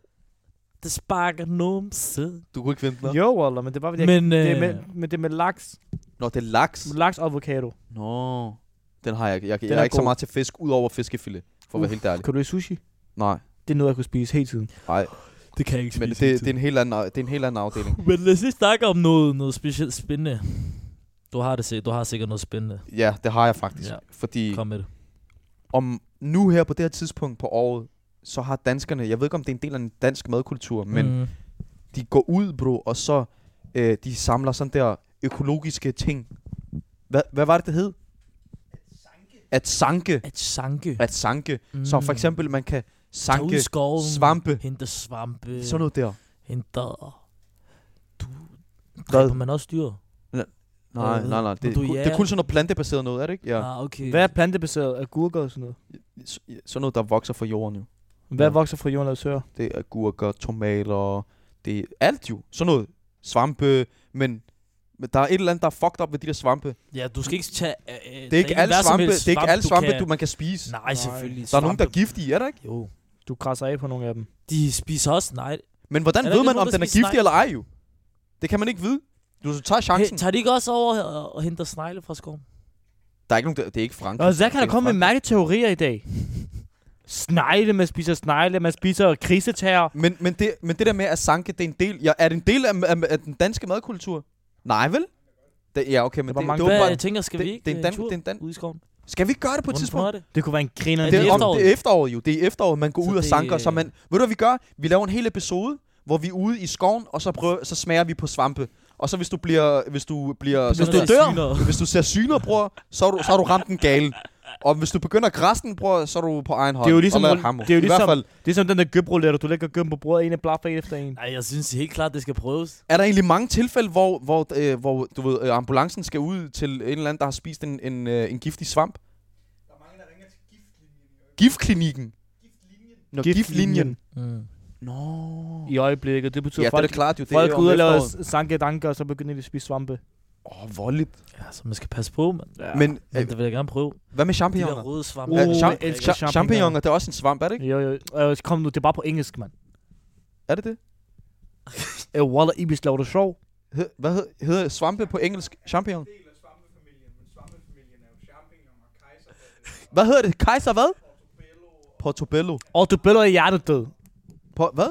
[SPEAKER 4] Det sparker numse.
[SPEAKER 2] Du kunne ikke vente noget.
[SPEAKER 3] Jo, Waller, men det er bare, fordi jeg,
[SPEAKER 4] Men, øh,
[SPEAKER 3] det er med, men det er med laks.
[SPEAKER 2] Nå, det er laks.
[SPEAKER 3] Laks og avocado.
[SPEAKER 2] Nå, den har jeg ikke. Jeg, jeg,
[SPEAKER 3] Den
[SPEAKER 2] er
[SPEAKER 3] er
[SPEAKER 2] ikke så
[SPEAKER 3] god.
[SPEAKER 2] meget til fisk, udover fiskefilet, for at være
[SPEAKER 3] Uh,
[SPEAKER 2] helt ærlig.
[SPEAKER 3] Kan du lide sushi?
[SPEAKER 2] Nej,
[SPEAKER 3] Det er noget, jeg kunne spise hele tiden.
[SPEAKER 2] nej.
[SPEAKER 4] Det kan jeg ikke
[SPEAKER 2] Men det, det, er en helt anden, det er en helt anden afdeling.
[SPEAKER 4] Men lad os lige snakke om noget, noget specielt spændende. Du har det sikkert, du har sikkert noget spændende.
[SPEAKER 2] Ja, det har jeg faktisk.
[SPEAKER 4] Ja.
[SPEAKER 2] Fordi
[SPEAKER 4] Kom med det.
[SPEAKER 2] om nu her på det her tidspunkt på året, så har danskerne, jeg ved ikke om det er en del af den danske madkultur, men
[SPEAKER 4] mm.
[SPEAKER 2] de går ud, bro, og så øh, de samler sådan der økologiske ting. Hva, hvad var det, det hed? At sanke.
[SPEAKER 4] at sanke.
[SPEAKER 2] At sanke. Mm. Så for eksempel, man kan
[SPEAKER 4] Tag ud
[SPEAKER 2] sanke
[SPEAKER 4] i skoven,
[SPEAKER 2] svampe.
[SPEAKER 4] hente svampe,
[SPEAKER 2] Sådan noget der.
[SPEAKER 4] hente... Du,
[SPEAKER 2] Hvad?
[SPEAKER 4] dræber man også dyr?
[SPEAKER 2] Nej,
[SPEAKER 4] Øh,
[SPEAKER 2] nej, nej. Det,
[SPEAKER 4] du er
[SPEAKER 2] ku- det
[SPEAKER 4] jæger.
[SPEAKER 2] er kun sådan noget plantebaseret noget, er det ikke? Ja.
[SPEAKER 4] Ah, okay.
[SPEAKER 3] Hvad er plantebaseret? Agurker og sådan noget?
[SPEAKER 2] S- ja, Sådan noget, der vokser fra jorden jo.
[SPEAKER 3] Hvad
[SPEAKER 2] Ja.
[SPEAKER 3] vokser fra jorden, lad os høre?
[SPEAKER 2] Det er agurker, tomater, det er alt jo. Sådan noget. Svampe, men, men der er et eller andet, der er fucked up ved de der svampe.
[SPEAKER 4] Ja, du skal ikke tage... Øh, det
[SPEAKER 2] Det er ikke alle svampe, det er ikke alle svampe, du, man kan spise.
[SPEAKER 4] Nej, selvfølgelig.
[SPEAKER 2] der er nogen, der er
[SPEAKER 4] Svampe-
[SPEAKER 2] giftige, er der ikke?
[SPEAKER 4] Jo.
[SPEAKER 3] Du krasser af på nogle af dem.
[SPEAKER 4] De spiser også... Nej.
[SPEAKER 2] Men hvordan
[SPEAKER 4] Er der
[SPEAKER 2] ved
[SPEAKER 4] ikke
[SPEAKER 2] man,
[SPEAKER 4] nogen,
[SPEAKER 2] om
[SPEAKER 4] der
[SPEAKER 2] den er
[SPEAKER 4] spiser
[SPEAKER 2] giftig
[SPEAKER 4] snegle?
[SPEAKER 2] eller ej jo? Det kan man ikke vide. Du tager
[SPEAKER 4] Hey,
[SPEAKER 2] chancen.
[SPEAKER 4] tager de ikke også over og- og henter snegle fra skoven?
[SPEAKER 2] Der er ikke nogen, der, det er ikke Frankrig.
[SPEAKER 3] Og Zach
[SPEAKER 2] Det
[SPEAKER 3] har
[SPEAKER 2] er
[SPEAKER 3] da kommet med
[SPEAKER 2] Frankrig.
[SPEAKER 3] mærkelige teorier i dag. Snegle, man spiser snegle, man spiser krisetager.
[SPEAKER 2] Men, men, det, men det der med at sanke, det er en del, ja, er det en del af, af, af den danske madkultur? Nej, vel? Det, ja, okay, men det,
[SPEAKER 3] var
[SPEAKER 2] det,
[SPEAKER 3] mange-
[SPEAKER 2] det,
[SPEAKER 4] Hvad,
[SPEAKER 2] var
[SPEAKER 4] jeg
[SPEAKER 2] bare,
[SPEAKER 4] tænker, skal
[SPEAKER 2] det-
[SPEAKER 4] vi ikke
[SPEAKER 2] det er en
[SPEAKER 4] øh,
[SPEAKER 2] dan-
[SPEAKER 4] tur
[SPEAKER 2] det er en dan-
[SPEAKER 4] ude i skoven?
[SPEAKER 2] Skal vi ikke gøre det på et
[SPEAKER 4] Hvordan
[SPEAKER 2] tidspunkt?
[SPEAKER 4] er det?
[SPEAKER 3] Det kunne være en griner.
[SPEAKER 4] Er
[SPEAKER 2] Det er, om,
[SPEAKER 4] efteråret?
[SPEAKER 2] det er efteråret jo. Det er efteråret, man går
[SPEAKER 4] Så
[SPEAKER 2] ud og
[SPEAKER 4] det-
[SPEAKER 2] sanker. Så man, ved du, hvad vi gør? Vi laver en hel episode, hvor vi er ude i skoven, og så, prøver, så smager vi på svampe. Og så hvis du bliver... Hvis du, bliver
[SPEAKER 4] Hvis
[SPEAKER 2] så,
[SPEAKER 4] du dør.
[SPEAKER 2] hvis du ser syner, bror, så har du, så har du ramt den gale. Og hvis du begynder at græsse den, bror, så er du på egen hånd.
[SPEAKER 3] Det er jo ligesom-
[SPEAKER 2] og lavet hammer.
[SPEAKER 3] det er jo
[SPEAKER 2] I
[SPEAKER 3] ligesom-
[SPEAKER 2] hvert fald,
[SPEAKER 3] Det er som den der gøbruletter, du lægger gøb på bordet, en af blaffer en efter en.
[SPEAKER 4] Nej, jeg synes helt klart, det skal prøves.
[SPEAKER 2] er der egentlig mange tilfælde, hvor, hvor, øh, hvor du ved, øh, ambulancen skal ud til en eller anden, der har spist en, en, øh, en giftig svamp? Der er mange, der ringer til giftklinikken. Giftklinikken? Nå, giftlinjen.
[SPEAKER 4] Mm.
[SPEAKER 2] Nå.
[SPEAKER 3] I øjeblikket. Det betyder,
[SPEAKER 2] Ja,
[SPEAKER 3] at folk,
[SPEAKER 2] det er klart jo. Det
[SPEAKER 3] folk
[SPEAKER 2] er
[SPEAKER 3] går
[SPEAKER 2] om
[SPEAKER 3] ud og laver
[SPEAKER 2] efteråret.
[SPEAKER 3] s- sanke danker, og så begynder de at spise svampe.
[SPEAKER 2] Åh, oh, voldeligt.
[SPEAKER 4] Ja, så man skal passe på, mand.
[SPEAKER 3] Ja.
[SPEAKER 2] Men
[SPEAKER 4] Men
[SPEAKER 2] øh,
[SPEAKER 4] det vil jeg gerne prøve.
[SPEAKER 2] hvad med
[SPEAKER 4] De der
[SPEAKER 2] champignoner?
[SPEAKER 4] røde svampe.
[SPEAKER 3] Uh,
[SPEAKER 2] Uh, champ-
[SPEAKER 3] jeg elsker
[SPEAKER 2] cha- champignoner, det er også en svamp, er det ikke?
[SPEAKER 3] Jo, jo. Øh, kom nu, det er bare på engelsk, mand.
[SPEAKER 2] Er det det?
[SPEAKER 3] Øh, Walla Ibis laver det sjov.
[SPEAKER 2] Hed, hvad hed, hedder svampe på engelsk? Champignon? Hvad hedder det? Kaiser hvad? Portobello.
[SPEAKER 3] Og du billeder i hjertet død.
[SPEAKER 2] Por- hvad?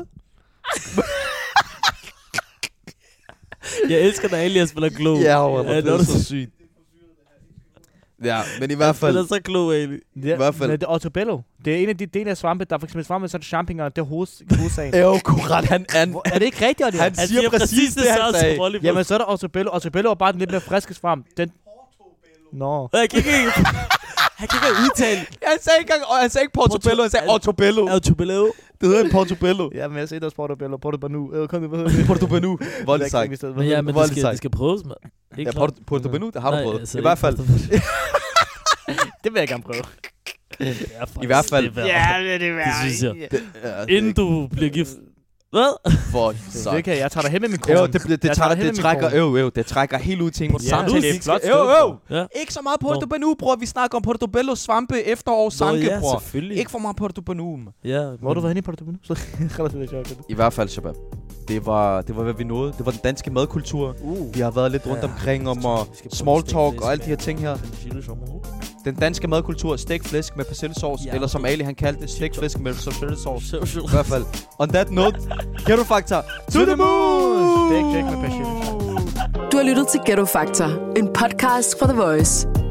[SPEAKER 4] Jeg elsker, når Alias spiller klog.
[SPEAKER 2] Ja, hvor er det
[SPEAKER 4] det er
[SPEAKER 2] så
[SPEAKER 4] så
[SPEAKER 2] sygt. Ja, men i hvert fald...
[SPEAKER 4] Spiller så klog, Ali.
[SPEAKER 3] Det,
[SPEAKER 2] hvert fald.
[SPEAKER 3] Det er Ottobello. Det er en af de dele af svampe, der er for eksempel svampe, så er det champignoner, det er hoveds, hovedsagen.
[SPEAKER 2] Jo, korrekt. Han, han,
[SPEAKER 3] Hvor- er det ikke rigtigt, Oliver?
[SPEAKER 2] han
[SPEAKER 4] Han
[SPEAKER 2] siger præcis det, han
[SPEAKER 4] samme
[SPEAKER 2] sagde.
[SPEAKER 4] som Oliver.
[SPEAKER 3] Jamen, så er der Ottobello. Ottobello er bare den lidt mere friske svamp. Den... Nå.
[SPEAKER 4] Jeg kan ikke... Han kan ikke udtale.
[SPEAKER 2] Han sagde ikke, engang- han sagde ikke Portobello, han sagde
[SPEAKER 4] Porto-
[SPEAKER 2] Ottobello.
[SPEAKER 4] Er du below?
[SPEAKER 2] Det hedder en Portobello.
[SPEAKER 3] Ja, men jeg ser også Portobello. Portobanu. Øh, kom nu, hvad hedder det?
[SPEAKER 2] Portobello. Voldeligt sagt.
[SPEAKER 4] Men ja, men det
[SPEAKER 2] Voldelig
[SPEAKER 4] skal,
[SPEAKER 2] sej.
[SPEAKER 4] det skal prøves, mand. Ikke
[SPEAKER 2] Ja,
[SPEAKER 4] klart.
[SPEAKER 2] Porto- Portobello, det har du
[SPEAKER 4] Nej,
[SPEAKER 2] prøvet. I
[SPEAKER 4] altså ikke
[SPEAKER 2] hvert fald,
[SPEAKER 4] Portobello.
[SPEAKER 3] Det vil jeg gerne prøve.
[SPEAKER 4] Ja, faktisk,
[SPEAKER 2] I hvert fald-
[SPEAKER 4] Det, er værd.
[SPEAKER 3] det vil
[SPEAKER 4] Det synes jeg.
[SPEAKER 2] Det, ja, det
[SPEAKER 4] Inden du bliver gift. Hvad?
[SPEAKER 2] for
[SPEAKER 3] Det kan jeg. Jeg tager dig hen med min kone.
[SPEAKER 2] Jo, det, det, det,
[SPEAKER 3] Jeg
[SPEAKER 2] tager,
[SPEAKER 3] tager
[SPEAKER 2] det
[SPEAKER 3] helt
[SPEAKER 2] trækker,
[SPEAKER 3] mikrofonen.
[SPEAKER 2] øv, øv, det trækker helt ud til en
[SPEAKER 4] Ja,
[SPEAKER 2] samtale.
[SPEAKER 4] det er
[SPEAKER 2] vi
[SPEAKER 3] et flot
[SPEAKER 2] skal-
[SPEAKER 3] sted,
[SPEAKER 2] Øv, øv!
[SPEAKER 4] Ja.
[SPEAKER 2] Ikke så meget Portobello, bror. Vi snakker om Portobello, svampe, efterår, sanke,
[SPEAKER 4] Nå, ja,
[SPEAKER 2] bror.
[SPEAKER 4] selvfølgelig.
[SPEAKER 2] Ikke for meget Portobello. mand.
[SPEAKER 4] Ja,
[SPEAKER 3] Hvor har du været henne i Portobello? Så relativt lidt sjovt.
[SPEAKER 2] I hvert fald, Shabab. Det var, det var, hvad vi nåede. Det var den danske madkultur.
[SPEAKER 4] Uh.
[SPEAKER 2] Vi har været lidt rundt
[SPEAKER 4] Ja.
[SPEAKER 2] omkring om
[SPEAKER 4] Vi
[SPEAKER 2] at
[SPEAKER 4] skal prøve
[SPEAKER 2] small
[SPEAKER 4] steak
[SPEAKER 2] talk
[SPEAKER 4] fish,
[SPEAKER 2] og alle de her
[SPEAKER 4] mand.
[SPEAKER 2] ting her.
[SPEAKER 4] her.
[SPEAKER 2] Den danske madkultur, stegt flæsk med persillesauce,
[SPEAKER 4] Ja.
[SPEAKER 2] eller som Ali han kaldte det, stegt flæsk med persillesauce.
[SPEAKER 4] Sjov, sjov.
[SPEAKER 2] I hvert fald. On that note, Ghetto Factor, to the moon!
[SPEAKER 3] Stegt flæsk med persillesauce.
[SPEAKER 1] Du har lyttet til Ghetto Factor, en podcast fra The Voice.